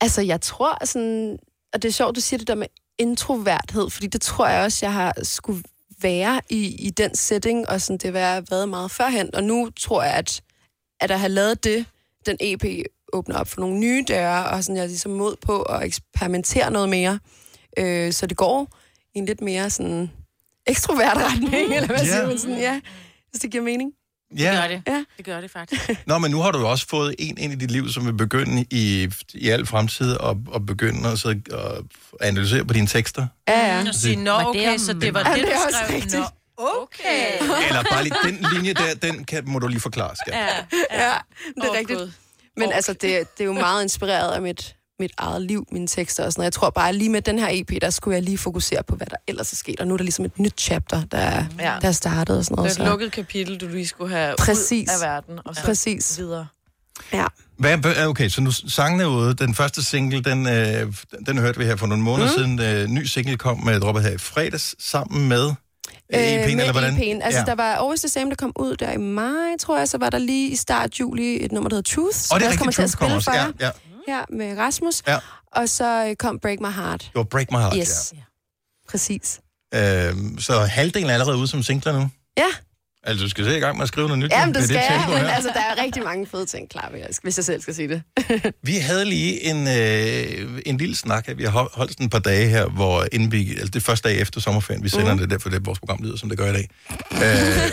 Altså, jeg tror sådan... Og det er sjovt, du siger det der med introverthed, fordi det tror jeg også, jeg har skulle være i, i den setting, og sådan, det har jeg været meget førhen. Og nu tror jeg, at, at at have lavet det, den EP åbner op for nogle nye døre, og sådan, jeg er ligesom mod på at eksperimentere noget mere. Øh, så det går i en lidt mere sådan ekstrovert retning, eller hvad Ja. siger man sådan, ja. Hvis det giver mening. ja. Det gør det. Ja. Det gør det [laughs] faktisk. Nå, men nu har du jo også fået en ind i dit liv, som vil begynde i, i al fremtid at, at begynde at, sidde og analysere på dine tekster. Ja, ja. Mm, Og sige, nå, okay, så det var Ja, det, det du er også skrev. rigtigt. Nå, okay. [laughs] Eller bare lige, den linje der, den kan, må du lige forklare, skat. Ja, ja. det er rigtigt. Men altså, det, det er jo meget inspireret af mit, mit eget liv, mine tekster og sådan noget. Jeg tror bare, lige med den her EP, der skulle jeg lige fokusere på, hvad der ellers er sket. Og nu er der ligesom et nyt chapter, der, ja. der er startet og sådan noget. Det er et lukket kapitel, du lige skulle have Præcis. ud af verden, og så Præcis. videre. Ja. Hvad, hvad- okay, så nu sangen er ude. Den første single, den, øh, den, den hørte vi her for nogle måneder mm. siden. Øh, ny single kom med droppet her i fredags sammen med øh, EP'en, med eller hvordan? EP'en. Altså, ja. der var Always The Same, der kom ud der i maj, tror jeg. Så var der lige i start juli et nummer, der hedder Truth. som Og det jeg også er kommer rigtigt, til at Truth spille kommer for også. Ja, jer. ja. ja, med Rasmus. Ja. Og så øh, kom Break My Heart. Det var Break My Heart, yes. ja. Præcis. ja. Øh, så halvdelen er allerede ude som singler nu. Ja, Altså, du skal se i gang med at skrive noget nyt. Jamen, med det skal jeg, tempo men her. [laughs] altså, der er rigtig mange fede ting klar, hvis jeg- hvis jeg selv skal sige det. Vi havde lige en, øh, en lille snak, her. vi har hol- holdt sådan et par dage her, hvor inden vi, altså det er første dag efter sommerferien, vi sender mm. det, derfor det vores program lyder, som det gør i dag. Øh,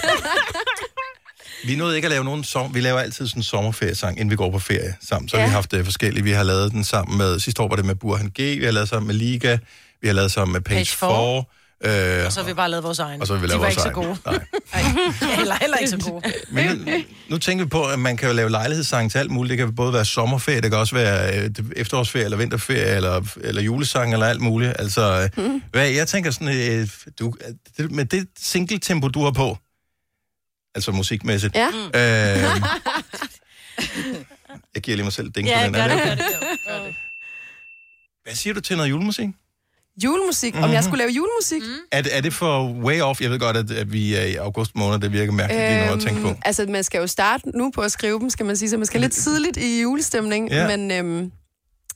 vi nåede ikke at lave nogen som, vi laver altid sådan en sommerferiesang, inden vi går på ferie sammen, så ja. vi har haft øh, forskellige, vi har lavet den sammen med, sidste år var det med Burhan G, vi har lavet sammen med Liga, vi har lavet sammen med Page, Page Page Four. 4, øh, Og så har vi bare lavet vores egen. og så har vi lavet De var vores ikke så egen. gode. Nej. [laughs] Nej. Heller, heller ikke så gode. [laughs] Men nu, nu tænker vi på, at man kan jo lave lejlighedssange til alt muligt. Det kan både være sommerferie, det kan også være øh, det- efterårsferie, eller vinterferie, eller, eller julesang, eller alt muligt. Altså, mm. hvad, jeg tænker sådan, øh, du, at det, med det single-tempo, du har på, altså musikmæssigt, Ja. [laughs] øh, jeg giver lige mig selv et ding på den. her. [laughs] Hvad siger du til noget julemusik? Mm. Julemusik, Mhm. mm-hmm. om jeg skulle lave julemusik? Mm. Er, det- er det for way off? Jeg ved godt, at, at vi er i august måned, det virker mærkeligt lige nu at tænke på. altså, man skal jo starte nu på at skrive dem, skal man sige, så man skal lidt tidligt i julestemning, Ja. ja. men øhm,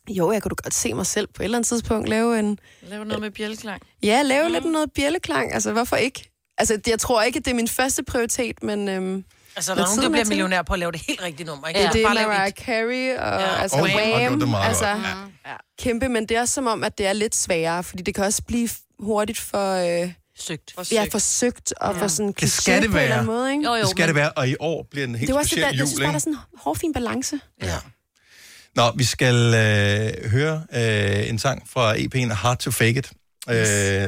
jo, jeg kunne da godt se mig selv på et eller andet tidspunkt lave en... Lav noget med bjælklang. Ja, lave mm. lidt noget bjælleklang, altså hvorfor ikke? Altså, det- jeg tror ikke, at det er min første prioritet, men... Øhm, Altså, der når er nogen, der tiden bliver til- millionær på at lave det helt rigtige nummer, ikke? Ja, det er Bare lave Mariah et- Carey og Ja. ja. altså, Og oh, Wham. Og det er Wham. meget Altså, godt, ja. kæmpe, men det er også som om, at det er lidt sværere, fordi det kan også blive hurtigt for... Øh, søgt. Ja, forsøgt og ja. for sådan Det skal kliché det på en eller være. anden måde, ikke? det skal det være, og i år bliver den helt det var også det speciel der, jeg synes jul, bare, der er ikke? sådan en hårfin balance. Nå, vi skal øh, høre øh, en sang fra EP'en Hard to Fake It øh,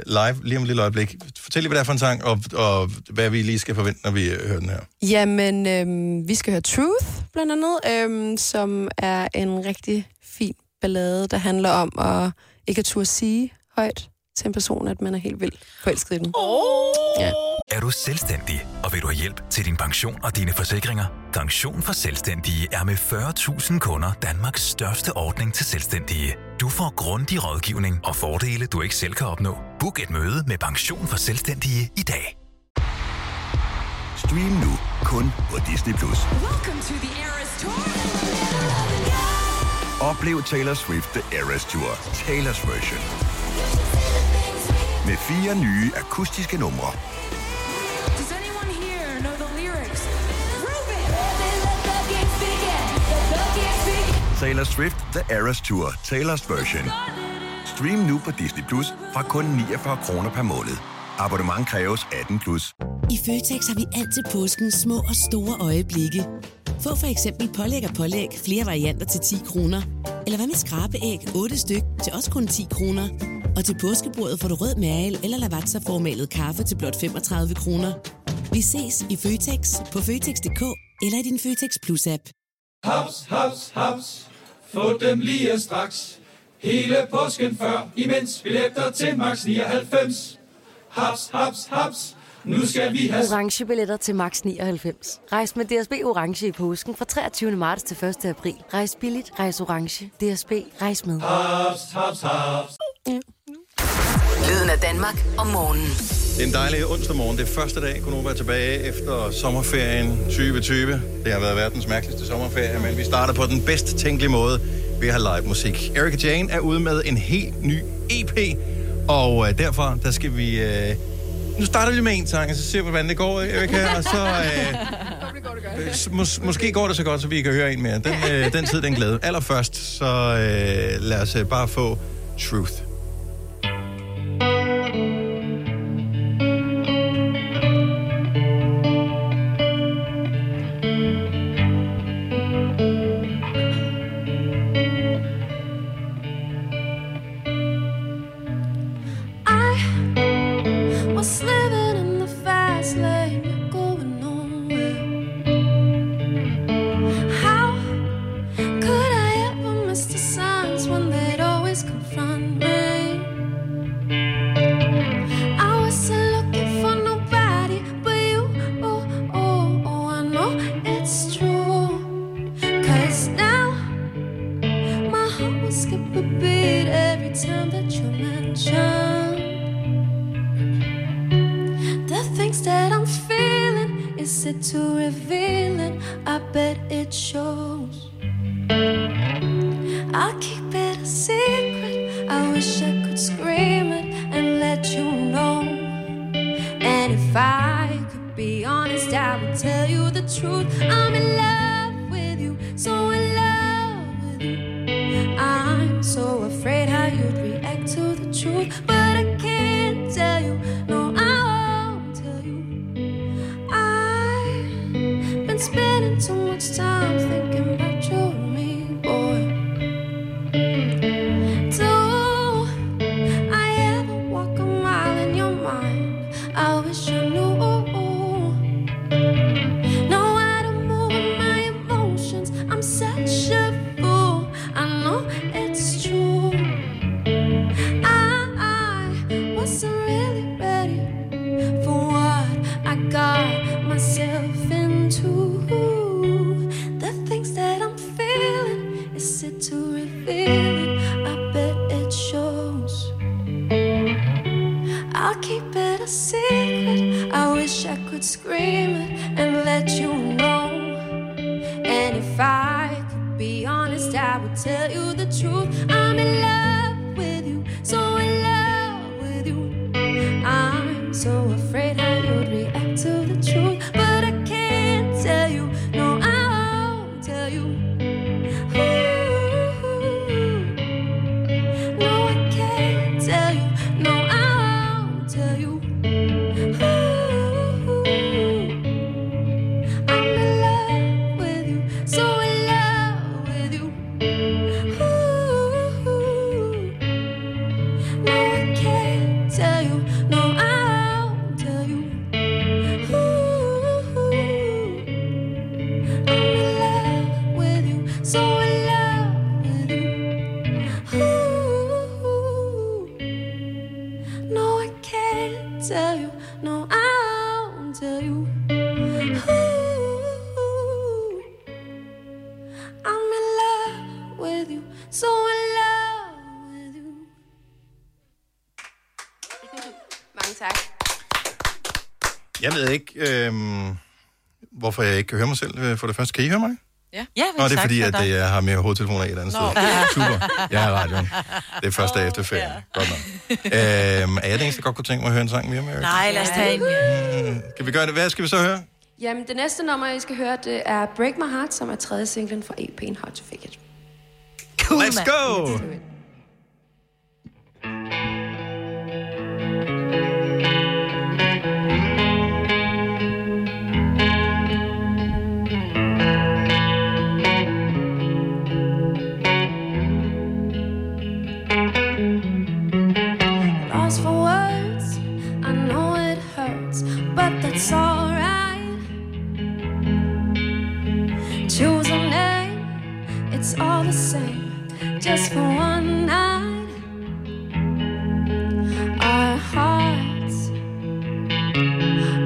live lige om et lille øjeblik. Fortæl lige, hvad det er for en sang, og, og hvad vi lige skal forvente, når vi øh, hører den her. Jamen, øhm, vi skal høre Truth, blandt andet, øhm, som er en rigtig fin ballade, der handler om at ikke at turde sige højt til en person, at man er helt vildt forelsket i den. Oh. Ja. Er du selvstændig, og vil du have hjælp til din pension og dine forsikringer? Pension for Selvstændige er med 40.000 kunder Danmarks største ordning til selvstændige. Du får grundig rådgivning og fordele, du ikke selv kan opnå. Book et møde med Pension for Selvstændige i dag. Stream nu kun på Disney+. Plus. Welcome to the Eras Tour. Oplev Taylor Swift The Eras Tour, Taylor's version. Med fire nye akustiske numre. Does anyone here know the lyrics? Taylor Swift The Eras Tour, Taylor's version. Stream nu på Disney Plus fra kun 49 kroner per måned. Abonnement kræves 18 plus. I Føtex har vi altid påsken små og store øjeblikke. Få for eksempel pålæg og pålæg flere varianter til 10 kroner. Eller hvad med skrabeæg 8 styk til også kun 10 kroner. Og til påskebordet får du rød mal eller lavatserformalet kaffe til blot 35 kroner. Vi ses i Føtex på Føtex.dk eller i din Føtex Plus-app. Haps, haps, haps. Få dem lige straks. Hele påsken før, imens billetter til max 99. Haps, haps, haps. Nu skal vi have... orange billetter til max 99. Rejs med DSB orange i påsken fra 23. marts til 1. april. Rejs billigt, rejs orange. DSB rejs med. Ah, Haps, haps, haps. Lyden af Danmark om morgenen. Det er en dejlig onsdag morgen. Det er første dag, kunne være tilbage efter sommerferien 2020. Det har været verdens mærkeligste sommerferie, men vi starter på den bedst tænkelige måde ved at have live musik. Erika Jane er ude med en helt ny EP, og øh, derfor der skal vi... Øh, nu starter vi med en sang, og så ser vi, hvordan det går, ikke, Erika, og så... Øh, Øh, Mås- måske går det så godt, så vi kan høre en mere. Den, øh, den tid, den glæde. Allerførst, så øh, lad os øh, bare få Truth. I was living in the fast lane, going nowhere. How could I ever miss the signs when they'd always confront me? I wasn't looking for nobody but you. Oh, oh, oh, I know it's true. Cause now my heart will skip a beat every time that you mention the things that I'm feeling. Is it too revealing? I bet it shows. I'll keep it a secret. I wish I could scream it and let you know. And if I could be honest, I would tell you the truth. I'm in love with you, so in love with you. I'm so afraid how you'd react to the truth, but I can't tell you. No, I won't tell you. I've been spending too much time thinking about you and me, boy. Do I ever walk a mile in your mind? I wish I knew. No, I don't move with my emotions. I'm such a fool. I know it's true. I, I wasn't really ready for what I got myself into. The things that I'm feeling, is it too revealing? I bet it shows. I'll keep it a secret. I wish I could scream it and let you know. And if I could be honest, I would tell you the truth. I'm in love with you, so in love with you. I'm so afraid how you'd react to the truth, but I can't tell you. No, I won't tell you. Ooh. No, I can't tell you. No, I won't. Jeg ved ikke, øh, hvorfor jeg ikke kan høre mig selv øh, for det første. Kan I høre mig? Ja, ja Nå, det er fordi, at øh, jeg har mere hovedtelefoner i et andet sted. Super. Jeg er i radioen. Det er første dag efter ferien. Godt nok. Øhm, er jeg den eneste, der godt kunne tænke mig at høre en sang mere med Eric? Nej, lad os tage en. Kan vi gøre det? Hvad skal vi så høre? Jamen, det næste nummer, I skal høre, det er Break My Heart, som er tredje singlen fra EP'en Hard to Fake It. Cool, Let's go! Lost for words, I know it hurts, but that's alright. Choose a name, it's all the same, just for one night. Our hearts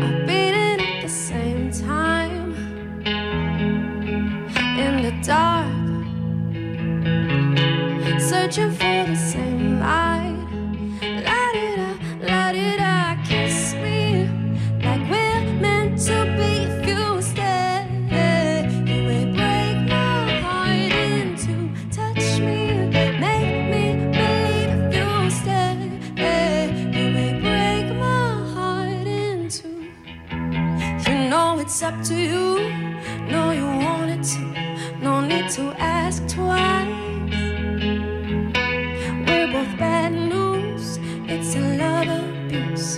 are beating at the same time. In the dark, searching for the same light. La-di-da, la-di-da, kiss me like we're meant to be. If you stay, you may break my heart in two. Touch me, make me bleed. If you stay, you may break my heart in two. You know it's up to you. Know you want it to. No need to ask twice. We're both bad news. It's a love abuse.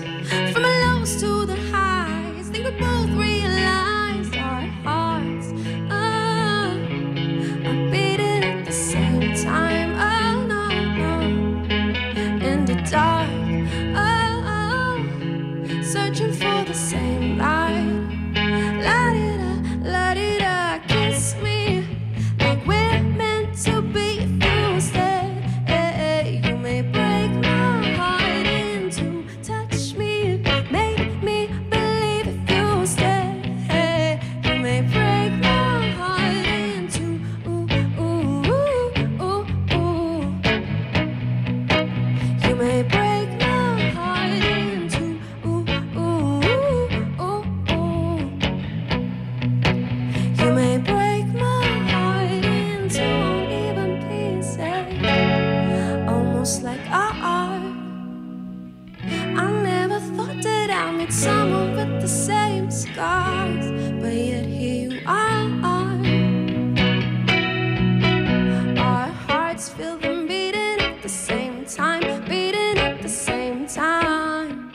From the lows to the highs. Think we both realize our hearts are, are beating at the same time. Oh no, no. In the dark. Oh, oh. Searching for the same light. La di da, la di da, kiss me like we're meant to be. If you stay, you may break my heart in two. Touch me, make me believe. If you stay, you may break my heart in two. Ooh, ooh, ooh, ooh. You may break my heart in two. Ooh, ooh, ooh, ooh. You may break my heart into uneven pieces, almost like I are. I never thought that I'd meet someone with the same scars, but yet here you are. Our hearts feel them beating at the same time, beating at the same time.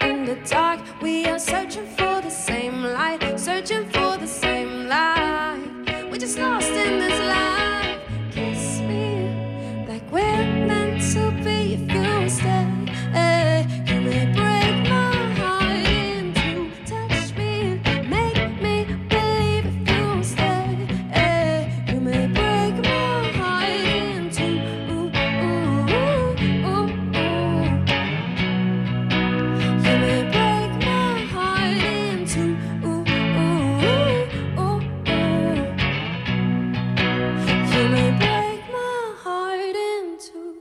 In the dark, we are searching for the same light, searching for the same light. We're just lost in this life. Kiss me like we're meant to be. If you stay, you may break my heart in two. Touch me, make me believe. If you stay, you may break my heart in two. Ooh, ooh, ooh, ooh, ooh. You may break my heart in two. Ooh, ooh, ooh, ooh, ooh. You may break my heart in two.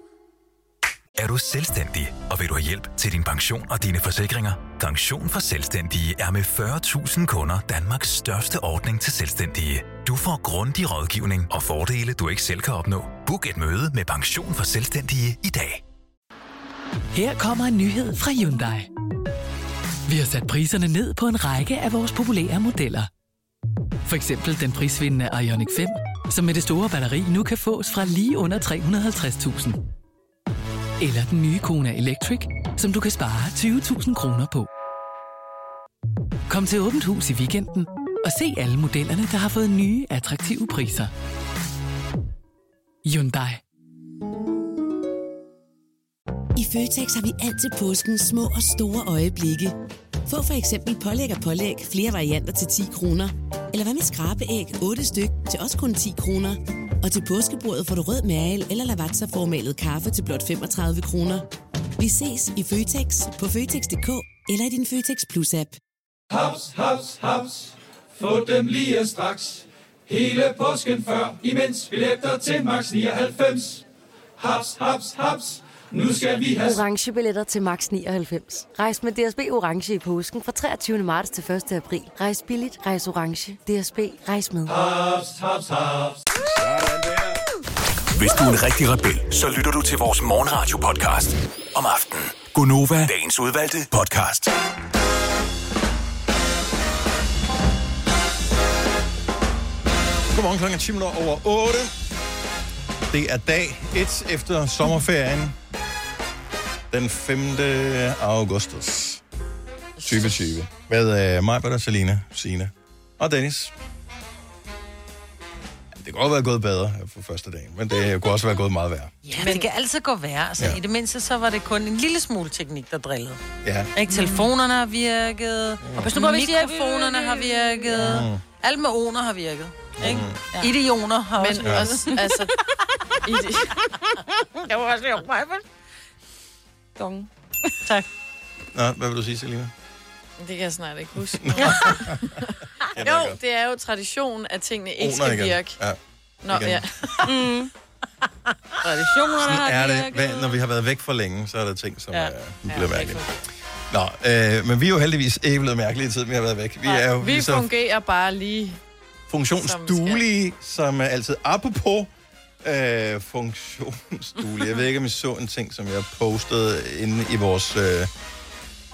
Er du selvstændig, og vil du have hjælp til din pension og dine forsikringer? Pension for Selvstændige er med 40.000 kunder Danmarks største ordning til selvstændige. Du får grundig rådgivning og fordele, du ikke selv kan opnå. Book et møde med Pension for Selvstændige i dag. Her kommer en nyhed fra Hyundai. Vi har sat priserne ned på en række af vores populære modeller. For eksempel den prisvindende Ioniq 5, som med det store batteri nu kan fås fra lige under 350.000. Eller den nye Kona Electric, som du kan spare 20.000 kroner på. Kom til Åbent Hus i weekenden og se alle modellerne, der har fået nye, attraktive priser. Hyundai. I Føtex har vi altid påsken små og store øjeblikke. Få for eksempel pålæg og pålæg flere varianter til 10 kroner. Eller hvad med skrabeæg 8 styk til også kun 10 kroner. Og til påskebordet får du rød mal eller lavatserformalet kaffe til blot 35 kroner. Vi ses i Føtex på Føtex.dk eller i din Føtex Plus-app. Haps, haps, haps. Få dem lige straks. Hele påsken før, imens billetter til max 99. Haps, haps, haps. Nu skal vi have... orange billetter til max 99. Rejs med DSB orange i påsken fra 23. marts til 1. april. Rejs billigt, rejs orange. DSB rejs med. Haps, haps, haps. Hvis du er en rigtig rebel, så lytter du til vores morgenradio-podcast om aftenen. Gunova, dagens udvalgte podcast. Godmorgen klokken 10 minutter over 8. Det er dag 1 efter sommerferien. Den 5. augustus 2020. Med øh, mig, Bette, Selina, Sina og Dennis. Ja, Det kunne godt være gået bedre øh, for første dagen, men det kunne også være gået meget værre. Ja, men det kan altid gå værre. Altså, Ja. ja. I det mindste, så var det kun en lille smule teknik, der drillede. Ja. Ikke? Telefonerne har virket, og pas nu på, hvis de er- mikrofonerne har virket, Mm. alle med oner har virket. Ikke? Mm. Ja. Idioner har Men også virket. også, [laughs] altså... Jeg var også lige mig, [laughs] Dong. Tak. Nå, hvad vil du sige, Selina? Det kan jeg snart ikke [laughs] huske. ved jo, det er jo tradition, at tingene ikke Oner skal igen. virke. Ja. Nå, Igen. ja. [laughs] Mm. Traditionerne Sådan har er Ah, det. virket. Hvad, når vi har været væk for længe, så er der ting, som ja. Ja. er, bliver mærkelige. Nå, øh, men vi er jo heldigvis ikke blevet mærkelige i tiden, vi har været væk. Vi er jo Vi lige så fungerer bare lige. funktionsduelige, som er altid apropos øh, funktionsduelige. Jeg ved ikke, om I så en ting, som jeg postede inde i vores øh,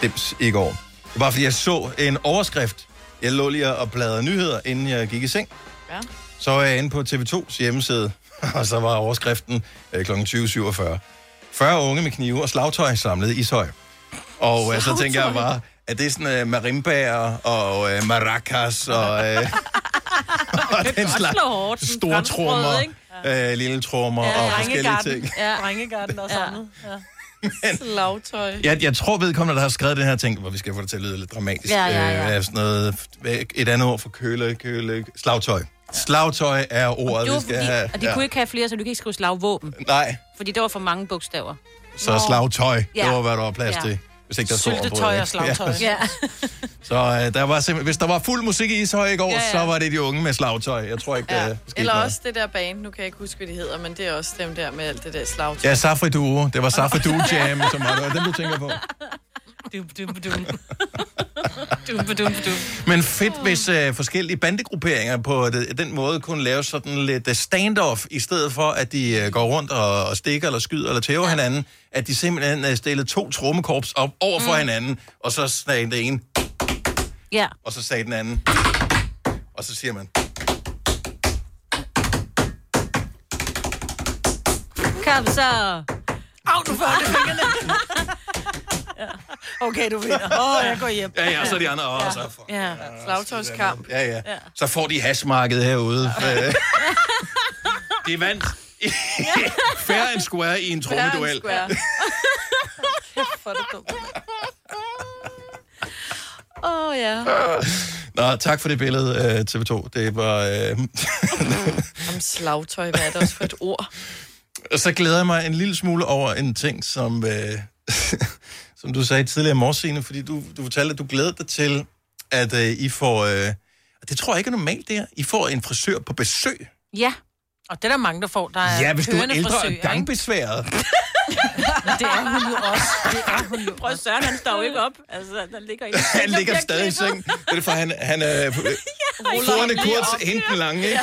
dims i går. Det var bare fordi, jeg så en overskrift. Jeg lå lige og bladrede nyheder, inden jeg gik i seng. Ja. Så er jeg inde på TV2's hjemmeside, [laughs] og så var overskriften øh, kl. 20.47. 40 unge med knive og slagtøj samlet i Ishøj. Og øh, så tænker jeg bare, at det er sådan øh, marimbager og øh, maracas og, øh, og den slags store trommer, øh, lille trommer ja, og forskellige ting. Ja, drengegarden der er samlet. Ja. [laughs] Slagtøj. Jeg, jeg tror vedkommende, der har skrevet den her ting, hvor vi skal få det til at lyde lidt dramatisk. Ja, ja, ja. Øh, er sådan noget, et andet ord for køle, køle, slagtøj. Slagtøj er ordet, Det var vi skal fordi, have. og de kunne ikke have flere, så du kan ikke skrive slagvåben. Nej, Fordi der var for mange bogstaver. så Nå. slagtøj, Ja. det var, hvad der var plads Ja. til. Hvis ikke der stod ombord, Syltetøj og ikke? Ja. slagtøj. Ja. Så øh, der var simpelthen, hvis der var fuld musik i Ishøj i går, ja, Ja, ja. ja. så var det de unge med slagtøj. Jeg tror ikke, ja. det skete Eller noget. også det der band, nu kan jeg ikke huske, hvad de hedder, men det er også dem der med alt det der slagtøj. Ja, Safri Duo. Det var Safri [laughs] Duo Jam, som var det. var den, du tænker på. Dum, dum, [laughs] dum. dum, dum, dum. Men fedt, hvis øh, forskellige bandegrupperinger på det, den måde kunne lave sådan lidt øh, standoff, i stedet for, at de øh, går rundt og, og stikker eller skyder eller tæver ja. hinanden, at de simpelthen øh, stillede to trommekorps op over for mm. hinanden, og så sagde den ene, [laughs] Ja. og så sagde den anden, og så siger man, Kom så. Au, du får det i fingrene. ja. Okay, du vinder. Åh, oh, jeg går hjem. ja, ja, og så de andre, og så Ja, slagtøjskamp. Ja, ja. Så får de hasmarkedet herude. Øh, de vandt. Fair and square i en trommeduel. [laughs] For det dumt. Åh, oh, ja. Nå, tak for det billede, øh, TV2. Det var... Øh, [laughs] Om slagtøj, hvad er det også for et ord? og så glæder jeg mig en lille smule over en ting, som, øh, [laughs] som du sagde tidligere i morges, Signe, fordi du, du fortalte, at du glæder dig til, at øh, I får... Øh, og det tror jeg ikke er normalt, det her. I får en frisør på besøg. Ja. Og det er der mange, der får. Der er Ja, hvis du er kørende ældre og frisører, ikke? gangbesværet. Men det er hun jo også. Det er hun jo Prøv at Søren, han står jo ikke op. Altså, [laughs] der ligger ikke. Han ligger stadig i seng. Det er for, han, han er... Øh, Forerne lige op. kurz, henten lang, [laughs] ikke?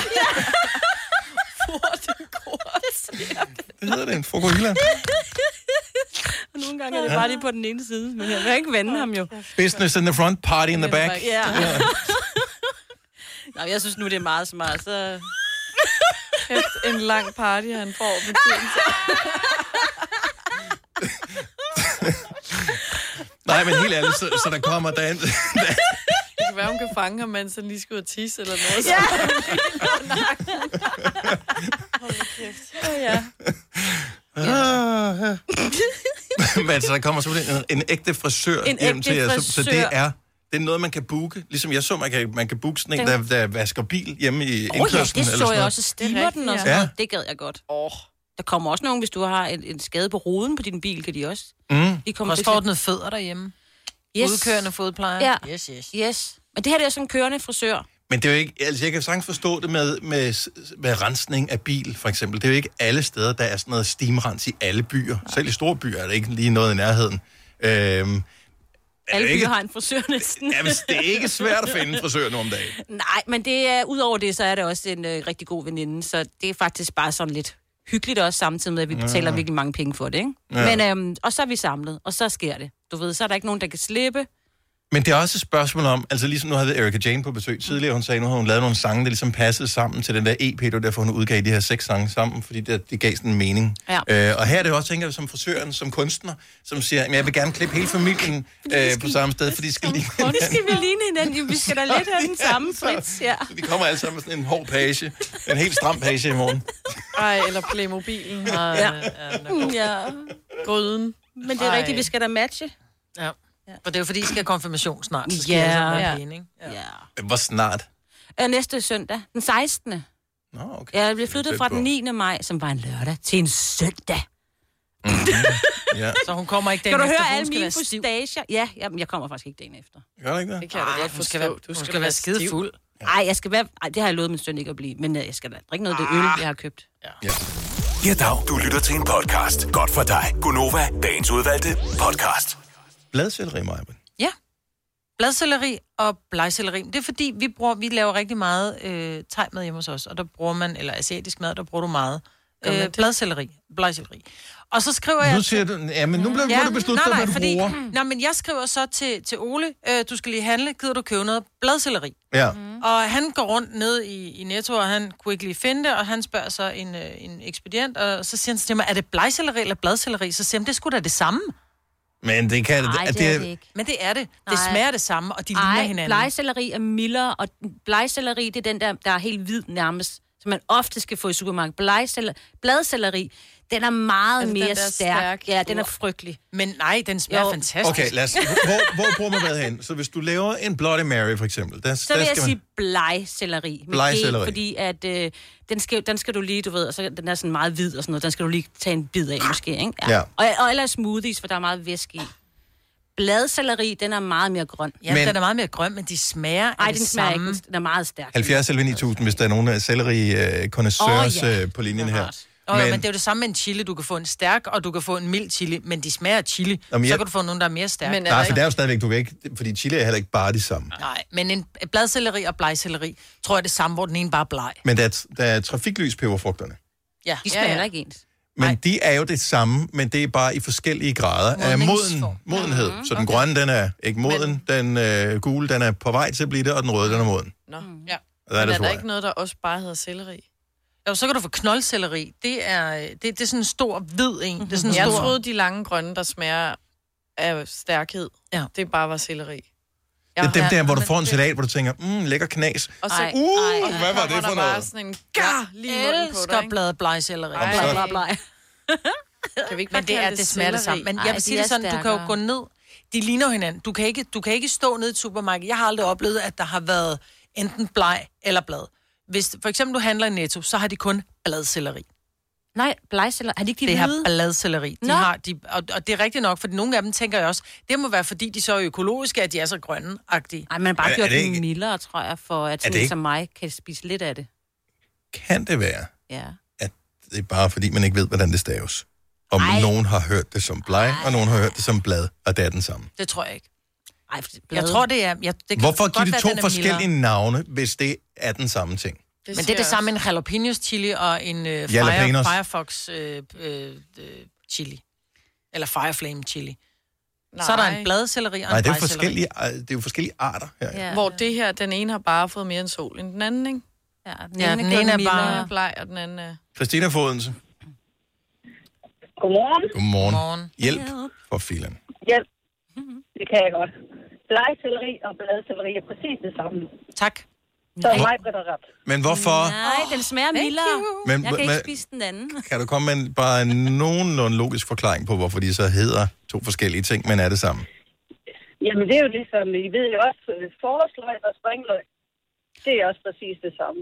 Hvad hedder det? En frokohila? [laughs] Nogle gange er det bare lige på den ene side, men jeg vil ikke vende ham jo. Business in the front, party in the back. Ja. Nå, jeg synes nu, det er meget smart, så... Kæft, en lang party, han får på tiden. Nej, men helt ærligt, så, så der kommer der en... Det kan være, hun kan fange ham, mens han lige skal ud og tisse eller noget. Ja. Hold da kæft. Åh, ja. Ah, Men altså, der kommer simpelthen en, en ægte frisør En hjem ægte til jer. Så, så det frisør. er det er noget, man kan booke. Ligesom jeg så, man kan, man kan booke sådan en, der, Den- der vasker bil hjemme i Åh oh, ja, indkørslen. det eller så sådan jeg noget. også. Stimer den og ja. sådan Ja. noget. Det gad jeg godt. Oh. Der kommer også nogen, hvis du har en, en skade på ruden på din bil, kan de også. Mm. De Kommer også forordnet fødder derhjemme. Yes. Udkørende fodplejer. Ja. Yes, yes. Yes. Men det her det er sådan en kørende frisør. Men det er jo ikke, altså jeg kan sagtens forstå det med, med, s- med rensning af bil, for eksempel. Det er jo ikke alle steder, der er sådan noget steamrens i alle byer. Nej. Selv i store byer er der ikke lige noget i nærheden. Øhm, er Alle det ikke, byer har en [laughs] frisør næsten. ja, hvis det er ikke svært at finde en frisør nu om dagen. [laughs] Nej, men det er, udover det, så er det også en øh, rigtig god veninde, så det er faktisk bare sådan lidt hyggeligt også samtidig med, at vi Ja. betaler virkelig mange penge for det, ikke? Ja. Ja. Men, øhm, og så er vi samlet, og så sker det. Du ved, så er der ikke nogen, der kan slippe. Men det er også et spørgsmål om, altså ligesom nu havde Erika Jane på besøg tidligere, hun sagde, nu har hun lavet nogle sange, der ligesom passede sammen til den der EP, det var derfor hun udgav de her seks sange sammen, fordi det, det gav sådan en mening. Ja. Øh, og her er det jo også, tænker jeg, som frisøren, som kunstner, som siger, "Jamen, jeg vil gerne klippe hele [laughs] familien øh, på samme sted, fordi de skal lige... Nu skal vi ligne hinanden, jo, vi skal da lidt have den samme Fritz, ja. [laughs] Vi kommer alle sammen med sådan en hård page, en helt stram page i morgen. Ej, eller Playmobilen. Og, Ja. ja. Gryden. Men det er Ej. rigtigt, vi skal da matche. Ja. For det er jo fordi, I skal have konfirmation snart. Så skal Ja. yeah. jeg Ja. være pæne, ikke? Ja. Hvor snart? Øh, Næste søndag, den 16. Nå, okay. Jeg blev flyttet tæt fra på. den 9. maj, som var en lørdag, til en søndag. Mhm. Ja. [laughs] Så hun kommer ikke den Kan du efter, høre for hun alle skal mine være stiv. fustager? Ja, jamen, jeg kommer faktisk ikke dagen efter. Gør du ikke det? Det kan jeg da godt hun forstå. skal være, Du Ah, skal være stiv. Nej, jeg skal være... Ej, det har jeg lovet min søn ikke at blive, men øh, jeg skal da drikke noget af det øl, Ah. jeg har købt. Ja, dag. Du lytter til en podcast. Godt for dig. Gunova, dagens udvalgte podcast. Bladcelleri, Maja. Ja. Bladcelleri og blegcelleri. Det er fordi, vi, bruger, vi laver rigtig meget øh, tegmad hjemme hos os, og der bruger man, eller asiatisk mad, der bruger du meget Gør man øh, det? bladcelleri, blegcelleri. Og så skriver jeg... Nu siger du, ja, men nu bliver ja, du besluttet, nej, nej, hvad du fordi, bruger. [clears throat] Nej, men jeg skriver så til, til Ole, øh, du skal lige handle, gider du købe noget bladcelleri? Ja. Mm. Og han går rundt ned i, i Netto, og han kunne ikke lige finde det, og han spørger så en, øh, en ekspedient, og så siger han til mig, er det blegcelleri eller bladcelleri? Så siger han, det skulle da det samme. Men det kan... at Men det er det. Det Nej. smager det samme, og de ligner Ej, hinanden. blegselleri er mildere, og blegselleri, det er den der, der er helt hvid nærmest, som man ofte skal få i supermarkedet. Blegceller- Bladselleri, den er meget Er det Altså, den mere der stærk. stærk? Ja, den er Uh. frygtelig. Men nej, den smager fantastisk. Okay, lad os, hvor, hvor bruger man hvad hen? Så hvis du laver en Bloody Mary, for eksempel, der, Så der vil jeg skal sige blegselleri. med Blegselleri. G, Fordi at øh, den, skal, den skal du lige, du ved, og så den er sådan meget hvid og sådan noget, den skal du lige tage en bid af måske, ikke? Ja. Og, og ellers smoothies, for der er meget væske i. Bladselleri, den er meget mere grøn. Ja, Men- den er meget mere grøn, men de smager Ej, af den det smager samme. ikke. Den er meget stærk. 70 eller 9000, hvis der er nogen af selleri øh, connoisseurs Åh, ja. øh, på linjen her. Oh, men, men det er jo det samme med en chili. Du kan få en stærk, og du kan få en mild chili, men de smager af chili. Nå, men Så jeg- kan du få nogen, der er mere stærk. Men Nej, for der er jo stadigvæk, du kan ikke... Fordi chili er heller ikke bare det samme. Nej, men en bladcelleri og blegcelleri, tror jeg er det samme, hvor den ene bare er bleg. Men der er, der er trafiklys peberfrugterne. Ja. De smager heller ikke ens. Men Nej. de er jo det samme, men det er bare i forskellige grader af moden, Modningsform. modenhed. Mm, så den grønne, den er ikke moden, den øh, gule, den er på vej til at blive det, og den røde, den er moden. Nå. Mm. Ja. Og der er Men der er to der af. ikke noget, der også bare hedder selleri? Jo, så kan du få knoldcelleri. Det er, øh, det, det er sådan en stor, hvid en. Det er sådan en jeg stor... troede, de lange grønne, der smager af stærkhed, ja. det bare var selleri. Det er dem der, hvor du får en salat, hvor du tænker, mm, lækker knas. Og så, Ej, uh, ej, hvad var det for Bare noget? sådan en gar lige i munden på dig, elsker bladet blegcelleri. Ej. Blej, Blej, blej. Kan vi ikke bare Men det kalde er det smager det selleri? samme. Men Ej, jeg vil sige de det er sådan, du kan jo stærkere. gå ned. De ligner jo hinanden. Du kan ikke, du kan ikke stå nede i et supermarked. Jeg har aldrig oplevet, at der har været enten bleg eller blad. Hvis for eksempel du handler i Netto, så har de kun bladcelleri. Nej, blegselleri. Har de ikke de det her hvide? bladcelleri. De Nå. har, de, og, og, det er rigtigt nok, for nogle af dem tænker jeg også, det må være fordi, de så er økologiske, at de er så grønne-agtige. Nej, man har bare Er- er gjort det den ikke- mildere, tror jeg, for at det sådan en ikke- som mig kan spise lidt af det. Kan det være, Ja. det er bare fordi, man ikke ved, hvordan det staves? Om Ej. nogen har hørt det som bleg, og nogen har hørt det som blad, og det er den samme. Det tror jeg ikke. Ej, jeg tror, det er... Jeg, det kan godt Hvorfor give være, det den to er forskellige mildere. navne, hvis det er den samme ting? Men det er det samme med en jalapenos chili og en øh, fire, Jalapenos. firefox øh, øh, øh, chili. Eller fireflame chili. Nej. Så er der en bladcelleri og Nej, en det er jo blegselleri. forskellige, øh, det er jo forskellige arter her. Ja. Hvor det her, den ene har bare fået mere end sol end den anden, ikke? Ja, den ene er gjort bare- mildere. Den ene er bleg, og den anden er... Christina Fodense. Godmorgen. Godmorgen. Godmorgen. Hjælp for filen. Ja, det kan jeg godt. Blegcelleri og bladcelleri er præcis det samme. Tak. Så Hvor- mig bliver der ret. Men hvorfor Nej, den smager mildere. Men- Men, jeg kan ikke men- spise den anden. kan du komme med en- bare en nogenlunde logisk forklaring på, hvorfor de så hedder to forskellige ting, men er det samme? Jamen, det er jo ligesom, I ved jo også, øh, forårsløg og springløg, det er også præcis det samme.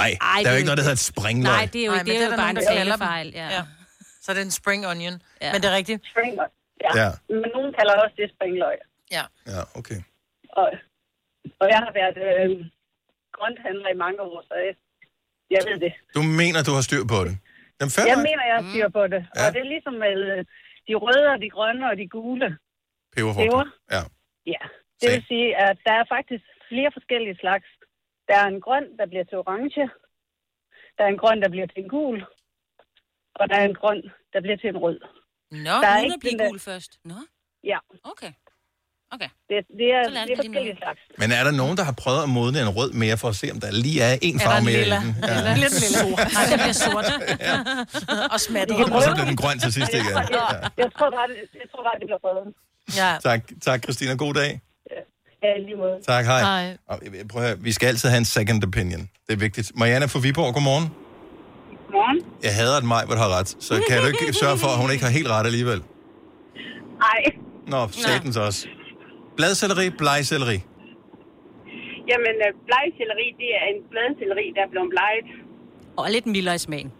Nej, Ej, der er det jo er ikke noget, der hedder et springløg. Nej, det er jo- Nej, men det er jo der bare nogen, en der kalder dem. talefejl, ja. ja. Så er det en spring onion. Ja. Men det er rigtigt. Spring Ja. Ja. ja. Men nogen kalder også det springløg. Ja. Ja, okay. Og, og jeg har været øh, grønthandler i mange år, så jeg, jeg ved det. Du mener, du har styr på det. Jamen, fair Jeg nok. mener, jeg har styr på det. Ja. Og Ja. det er ligesom med øh, de røde og de grønne og de gule Peberfrugt. peber. Ja. Ja, det vil sige, at der er faktisk flere forskellige slags. Der er en grøn, der bliver til orange. Der er en grøn, der bliver til en gul. Og der er en grøn, der bliver til en rød. Nå, der uden at den blive gul først. Nå, Ja, okay. Okay. det, det er, Så lærte det er vi lige noget. forskellige slags. Men er der nogen, der har prøvet at modne en rød mere, for at se, om der lige er en farve mere i den? Ja. Lidt lilla. Sort. Nej, det bliver sort. Og smattet. Og så blev den grøn til sidst igen. Ja. Jeg tror bare, det, jeg tror bare, det bliver røde. Ja. Tak, tak Christina. God dag. Ja, i lige måde. Tak, hej. Og, øh, prøv at høre, vi skal altid have en second opinion. Det er vigtigt. Marianne fra Viborg, godmorgen. Morgen. Jeg hader, at mig, hvor har ret. Så kan du ikke sørge for, at hun ikke har helt ret alligevel? Nej, Nå, satans også. Bladcelleri, blegcelleri. jamen øh, blegselleri, det er en bladselleri, der er blevet bleget. Og lidt mildere i smagen.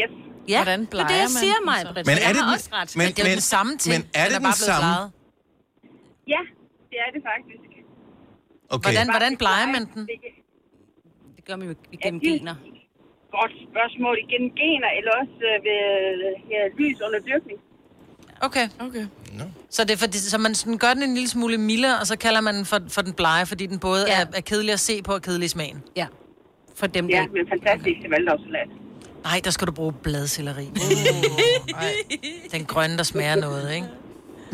Yes. Ja, Hvordan det er det, bleger jeg man siger den mig, så? Britt. Men så er jeg det har den- også ret. men- men- men er det den samme? Ja, det er det faktisk. Okay. Hvordan, hvordan plejer man den? Det gør man jo igennem gener. Godt spørgsmål. Igen gener, eller også øh, ved øh, ja, lys under dyrkning. Okay. okay. Så, det er fordi, så man sådan gør den en lille smule mildere, og så kalder man den for, for den blege, fordi den både ja. er, er kedelig at se på og kedelig i smagen. Ja. For dem Ja, men fantastisk til valgdagssalat. Nej, der skal du bruge bladcelleri. Uh, ej. den grønne, der smager noget, [laughs] ikke?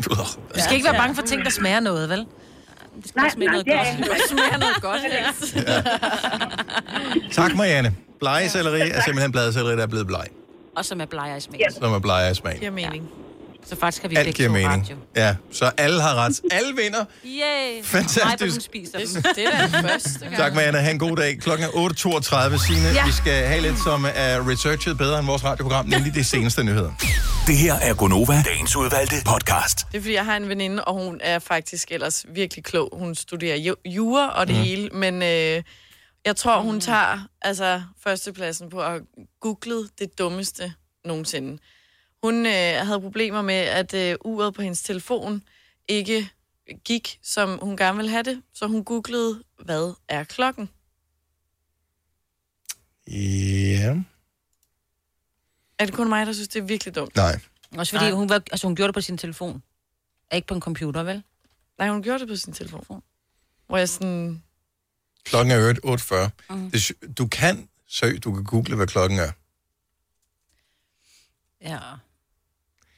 Du skal ikke være bange for ting, der smager noget, vel? Det skal Nej, smage nej, noget det er godt. jeg ikke. Det smager noget godt, ja. Tak, Marianne. Blegecelleri er simpelthen bladcelleri, der er blevet bleg, Og som er bleger i smagen. som er bleger i smag. giver mening. Ja. Så faktisk har vi Alt begge giver to mening. ret, jo. Ja, så alle har ret. Alle vinder. Yay. Fantastisk. Mig, hvor hun spiser dem. Det er [laughs] da den første gang. Tak, Marianne. Ha' en god dag. Klokken er 8.32, Signe. Ja. Ja. Vi skal have lidt, som er researchet bedre end vores radioprogram, nemlig de seneste nyheder. Det her er Gonova, dagens udvalgte podcast. Det er, fordi jeg har en veninde, og hun er faktisk ellers virkelig klog. Hun studerer ju- jura og det Mhm. mm. hele, men øh, jeg tror, hun tager altså førstepladsen på at have googlet det dummeste nogensinde. Hun øh, havde problemer med, at øh, uret på hendes telefon ikke gik, som hun gerne ville have det, så hun googlede, hvad er klokken? Ja. Er det kun mig, der synes, det er virkelig dumt? Nej. Også fordi Nej. hun, var, altså, hun gjorde det på sin telefon. Og ikke på en computer, vel? Nej, hun gjorde det på sin telefon. Hvor jeg sådan... Klokken er i øvrigt 8.40. Mm. Det, sy- du kan søge, du kan google, hvad klokken er. Ja.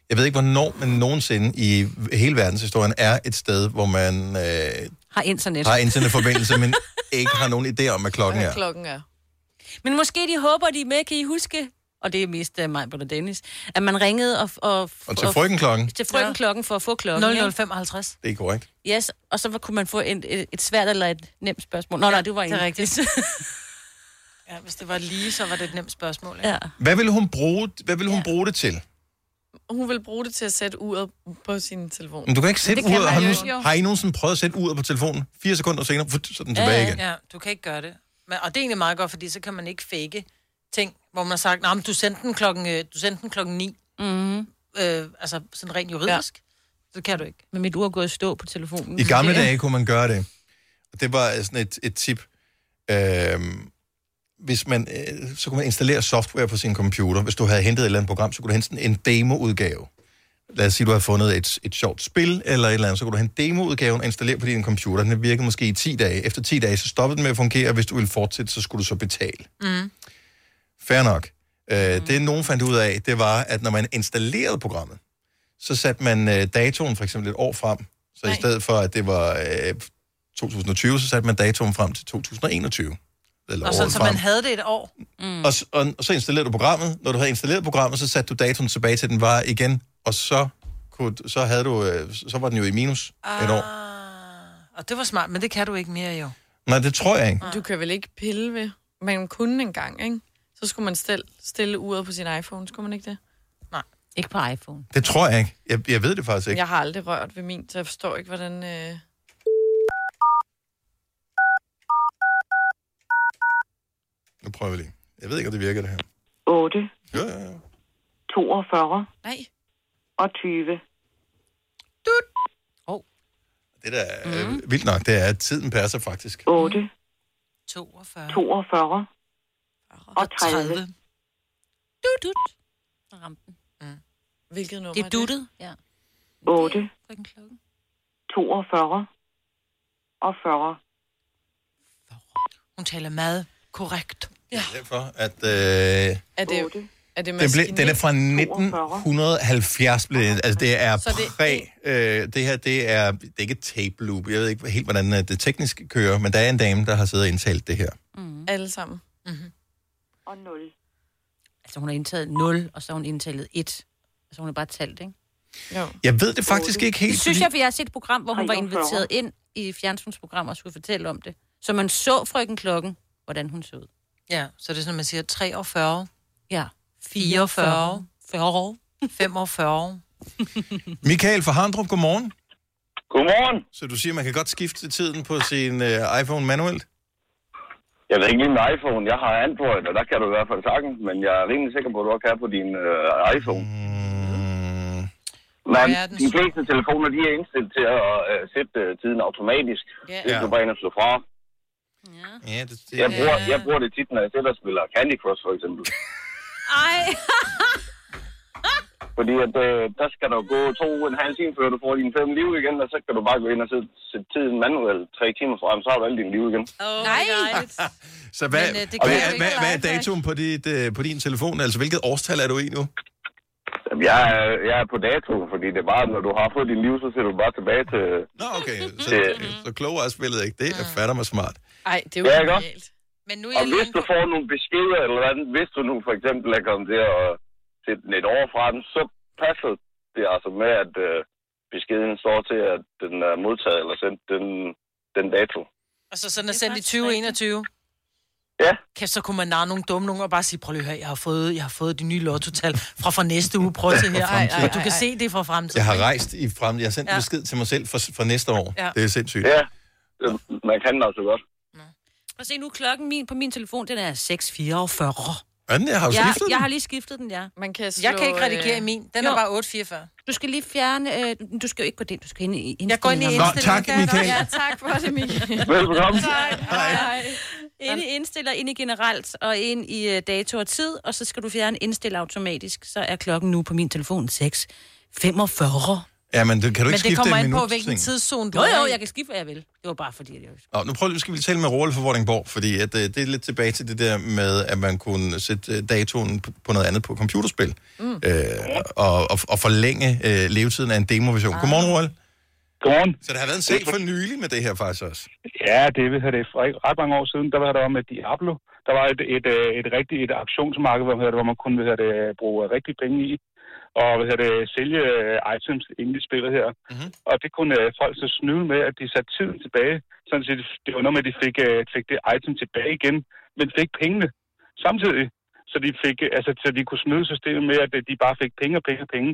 Jeg ved ikke, hvornår, men nogensinde i hele verdenshistorien er et sted, hvor man øh, Har internet. har [laughs] internetforbindelse, men ikke har nogen idé om, hvad klokken er. Klokken er. Men måske de håber, de er med, kan I huske? Og det er mest uh, mig, og Dennis. At man ringede og... Og, Og til frøkenklokken. Til frøkenklokken for at få klokken. ikke? 0055. Det er korrekt. Yes, og så kunne man få en, et, et svært eller et nemt spørgsmål. Nå, ja, nej, det var en. det er [laughs] rigtigt. Ja, hvis det var lige, så var det et nemt spørgsmål. Ikke? Ja. Hvad vil hun bruge, hvad vil hun bruge det til? Hun vil bruge det til at sætte uret på sin telefon. Men du kan ikke sætte uret. man jo. Har, du, nogensinde- har I nogensinde prøvet at sætte uret på telefonen? Fire sekunder senere, fut, så er den tilbage igen. Ja, du kan ikke gøre det. Men, og det er egentlig meget godt, fordi så kan man ikke fake ting, hvor man har sagt, "Nå, men du sendte den klokken, øh, du sendte den klokken 9. Mm-hmm. Øh, altså sådan rent juridisk. Ja. Det kan du ikke. Men mit ur er gået i stå på telefonen. I gamle dage kunne man gøre det. Og det var sådan et, et tip. Øhm, hvis man, øh, så kunne man installere software på sin computer. Hvis du havde hentet et eller andet program, så kunne du hente sådan en demoudgave. Lad os sige, du har fundet et, et sjovt spil eller et eller andet, så kunne du hente demoudgaven og installere på din computer. Den virkede måske i 10 dage. Efter 10 dage, så stoppede den med at fungere, og hvis du ville fortsætte, så skulle du så betale. Mm. Fair nok. Mm. Øh, det nogen fandt ud af, det var, at når man installerede programmet, så satte man øh, datoen for eksempel et år frem. Så Nej. i stedet for, at det var øh, 2020, så satte man datoen frem til 2021. Eller Og året så, så frem. man havde det et år. Mm. Og, s- og, og så installerede du programmet. Når du havde installeret programmet, så satte du datoen tilbage til, den var igen. Og så, kunne, så, havde du, øh, så var den jo i minus ah. et år. Og det var smart, men det kan du ikke mere jo. Nej, det tror jeg ikke. Ah. Du kan vel ikke pille ved, men kunne en gang, ikke? Så skulle man stille, stille uret på sin iPhone, skulle man ikke det? Nej. Ikke på iPhone. Det tror jeg ikke. Jeg, jeg ved det faktisk ikke. Jeg har aldrig rørt ved min, så jeg forstår ikke, hvordan... Øh... Nu prøver vi lige. Jeg ved ikke, om det virker, det her. 8, Ja, ja, ja. 42 Nej. og 20. øh, Mhm. Det der er mm. vildt nok, det er, at tiden passer faktisk. 8, 42. 42 og 30. Du, du. Ramte den. Hvilket nummer Det er er duttet. Ja. 8, Frygten klokken. 42 og 40. Hun taler meget korrekt. Ja. Derfor, at... Øh, Er det, er det den, blev, den er fra 1970, blev det, altså det er Så det er præ, øh, det her det er, det er ikke et tape loop, jeg ved ikke helt, hvordan øh, det teknisk kører, men der er en dame, der har siddet og indtalt det her. Mm. Alle sammen. Mhm. Mm-hmm. Og 0. Altså, hun har indtaget 0, og så har hun indtaget 1. Altså, hun har bare talt, ikke? Jo. Jeg ved det faktisk ikke helt, Det synes jeg, for jeg har set et program, hvor hun var 43. inviteret ind i et fjernsynsprogram og skulle fortælle om det. Så man så frøken klokken, hvordan hun så ud. Ja, så det er sådan, man siger 43. Ja. 44. [laughs] 40. 45. Michael fra Harndrup, godmorgen. Godmorgen. Så du siger, man kan godt skifte tiden på sin øh, iPhone manuelt? Jeg ved ikke lige med iPhone. Jeg har Android, og der kan du i hvert fald sagtens, men jeg er rimelig sikker på, at du også kan på din øh, iPhone. Men Ja, den- de fleste telefoner, de er indstillet til at øh, sætte øh, tiden automatisk, Ja. hvis Ja. du bare ind og slår fra. Ja, det, Jeg, bruger, jeg bruger det tit, når jeg sidder og spiller Candy Crush, for eksempel. Ej. Fordi at, øh, der skal der gå to og en halv time, før du får dine fem liv igen, og så kan du bare gå ind og sætte, sætte tiden manuelt tre timer frem, så har du alle dine liv igen. Oh Nej. Så hvad, Men, øh, det og kan hvad, jeg jo ikke hvad, på hvad er iPhone. datoen på, dit, øh, på din telefon? Altså, hvilket årstal er du i nu? Jamen, Jeg er, jeg er på dato, fordi det er bare, når du har fået din liv, så ser du bare tilbage til... Nå, okay. Så, til, så klogere er spillet ikke. Det er fatter mig smart. Ej, det er jo Ja, ja, ikke? genialt. Men nu og hvis du får nogle beskeder eller andet, hvis du nu for eksempel er kommet til at sætte den et år fra den, så passer det altså med, at øh, beskeden står til, at den er modtaget eller sendt den, den dato. Og så sådan er sendt i 2021. Ja. Kæft, så kunne man narre nogle dumme nogen og bare sige, prøv lige at høre, jeg har fået, jeg har fået de nye lottotal fra fra næste uge. Prøv at se her. Fra fremtiden. Du kan se det fra fremtiden. Jeg har rejst i frem. Jeg har sendt Ja. ja. besked til mig selv for, for næste år. Ja. Ja. Det er sindssygt. Ja, man kan altså godt. [laughs] Og se nu er klokken min på min telefon, den er 6.44. Anden, jeg har jo ja, skiftet jeg den. har lige skiftet den, ja. Man kan Jeg kan ikke redigere i min. Den er bare 844. øh, Du skal lige fjerne... Øh, du skal jo ikke på den, du skal ind i indstillingen. Jeg går ind i indstillingen. tak, Michael. Ja, tak for det, Michael. Velbekomme. Tak. Hej. Ind i indstiller, ind i generelt, og ind i øh, dato og tid, og så skal du fjerne indstille automatisk. Så er klokken nu på min telefon 6. 45. Ja, men det, kan du ikke skifte en minut? tidszone Jo, er jo, i. jeg kan skifte, hvad jeg vil. Det var bare fordi, at jeg... Nå, nu prøver vi, skal vi tale med Roel fra Vordingborg, fordi at, øh, det er lidt tilbage til det der med, at man kunne sætte øh, datoen på, på noget andet på computerspil, mm. øh, og, og, og forlænge øh, levetiden af en demoversion. Ah. Godmorgen, Roel. Godmorgen. Så der har været en sag for nylig med det her faktisk også. Ja, det er det er for ikke ret mange år siden, der var der om, at Diablo, der var et, et, øh, et rigtigt et auktionsmarked, hvor, hvad hedder det, hvor man kunne hvad hedder det, øh, bruge rigtige penge i, og hvad hedder det, sælge øh, items inde i spillet her. Mm-hmm. Og det kunne øh, folk så snyde med, at de satte tiden tilbage, sådan set, det var noget med, at de fik, øh, fik det item tilbage igen, men fik pengene samtidig. Så de, fik, øh, altså, så de kunne snyde systemet med, at øh, de bare fik penge og penge og penge.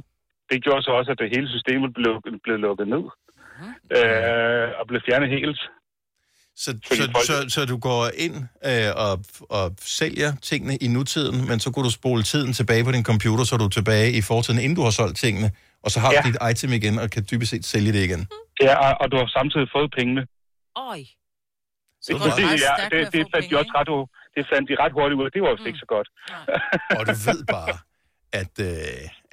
Det gjorde så også, at det hele systemet blev, blev lukket ned øh, og blev fjernet helt. Så, så, så, så du går ind øh, og, og sælger tingene i nutiden, men så kunne du spole tiden tilbage på din computer, så er du tilbage i fortiden, inden du har solgt tingene, og så har ja. du dit item igen, og kan dybest set sælge det igen. Ja, og, og du har samtidig fået pengene. Øj. Det, det, det, ja, det, det fandt de også ret, u- det fandt de ret hurtigt ud af. Det var jo mm. ikke så godt. og du ved bare, at øh,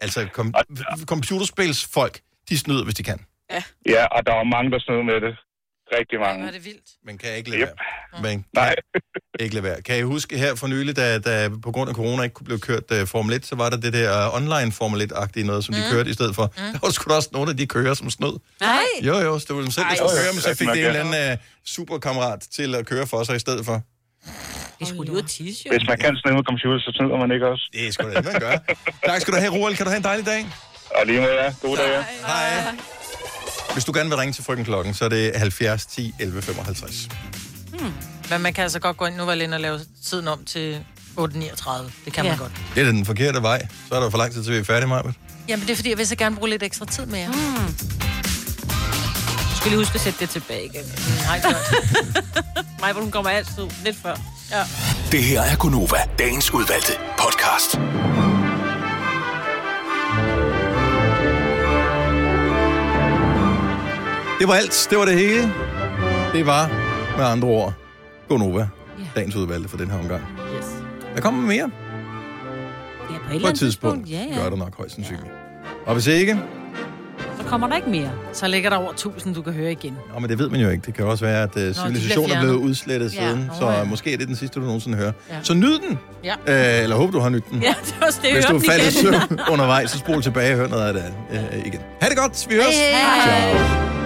altså, kom, computerspilsfolk, de snyder, hvis de kan. Ja, og der var mange, der snød med det. Rigtig mange. det vildt. Man kan ikke lade yep. være. Man kan ikke lade være. Kan I huske her for nylig, da, da på grund af corona ikke kunne blive kørt uh, Formel 1, så var der det der øh, online Formel 1-agtige noget, som mm. de kørte i stedet for. Mm. Der var sgu da også nogle af de kører, som snød. Nej. Jo, jo, så det var dem selv, der Ej, skulle hvor køre, men så sødt, fik det man en gør. eller anden uh, superkammerat til at køre for sig i stedet for. Det skulle lige ud at tisse, jo. Hvis man [laughs] kan snyde med computer, så snyder man ikke også. Det er sgu da det, man gør. Tak skal du have, Roald. Kan du have en dejlig dag? Og lige med jer. God dag, ja. Hej. Hvis du gerne vil ringe til frøken klokken, så er det 70 10 11 55. Hmm. Men man kan altså godt gå ind nu, var Lena, og lave tiden om til 8.39. Det kan ja. man godt. Det er da den forkerte vej. Så er der for lang tid til, vi er færdige, Maja. Jamen, det er fordi, jeg vil så gerne bruge lidt ekstra tid med jer. Mm. Du skal lige huske at sætte det tilbage igen. Nej, godt. [laughs] Nej, hvor hun kommer altid lidt før. Ja. Det her er Gunova, dagens udvalgte podcast. Det var alt. Det var det hele. Det var med andre ord Gonova, dagens udvalgte for den her omgang. Yes. Der kommer mere. Ja, på et, På eller et andet tidspunkt Ja, gør ja. det nok højst sandsynligt. Og hvis ikke, Så kommer der ikke mere. Så ligger der over 1000, du kan høre igen. Nå, men det ved man jo ikke. Det kan jo også være, at uh, civilisationen er fjernet. blevet udslettet Ja. siden, Nå, så ja. måske er det den sidste, du nogensinde hører. Ja. Så nyd den! Ja. Øh, eller håber, du har nyt [laughs] den. Ja, det var også det, jeg Hvis du hørte faldt i igen. [laughs] [laughs] søvn undervejs, så spol tilbage og hør noget af det øh, igen. Ha' det godt! Vi høres! Hej, hej. Ciao.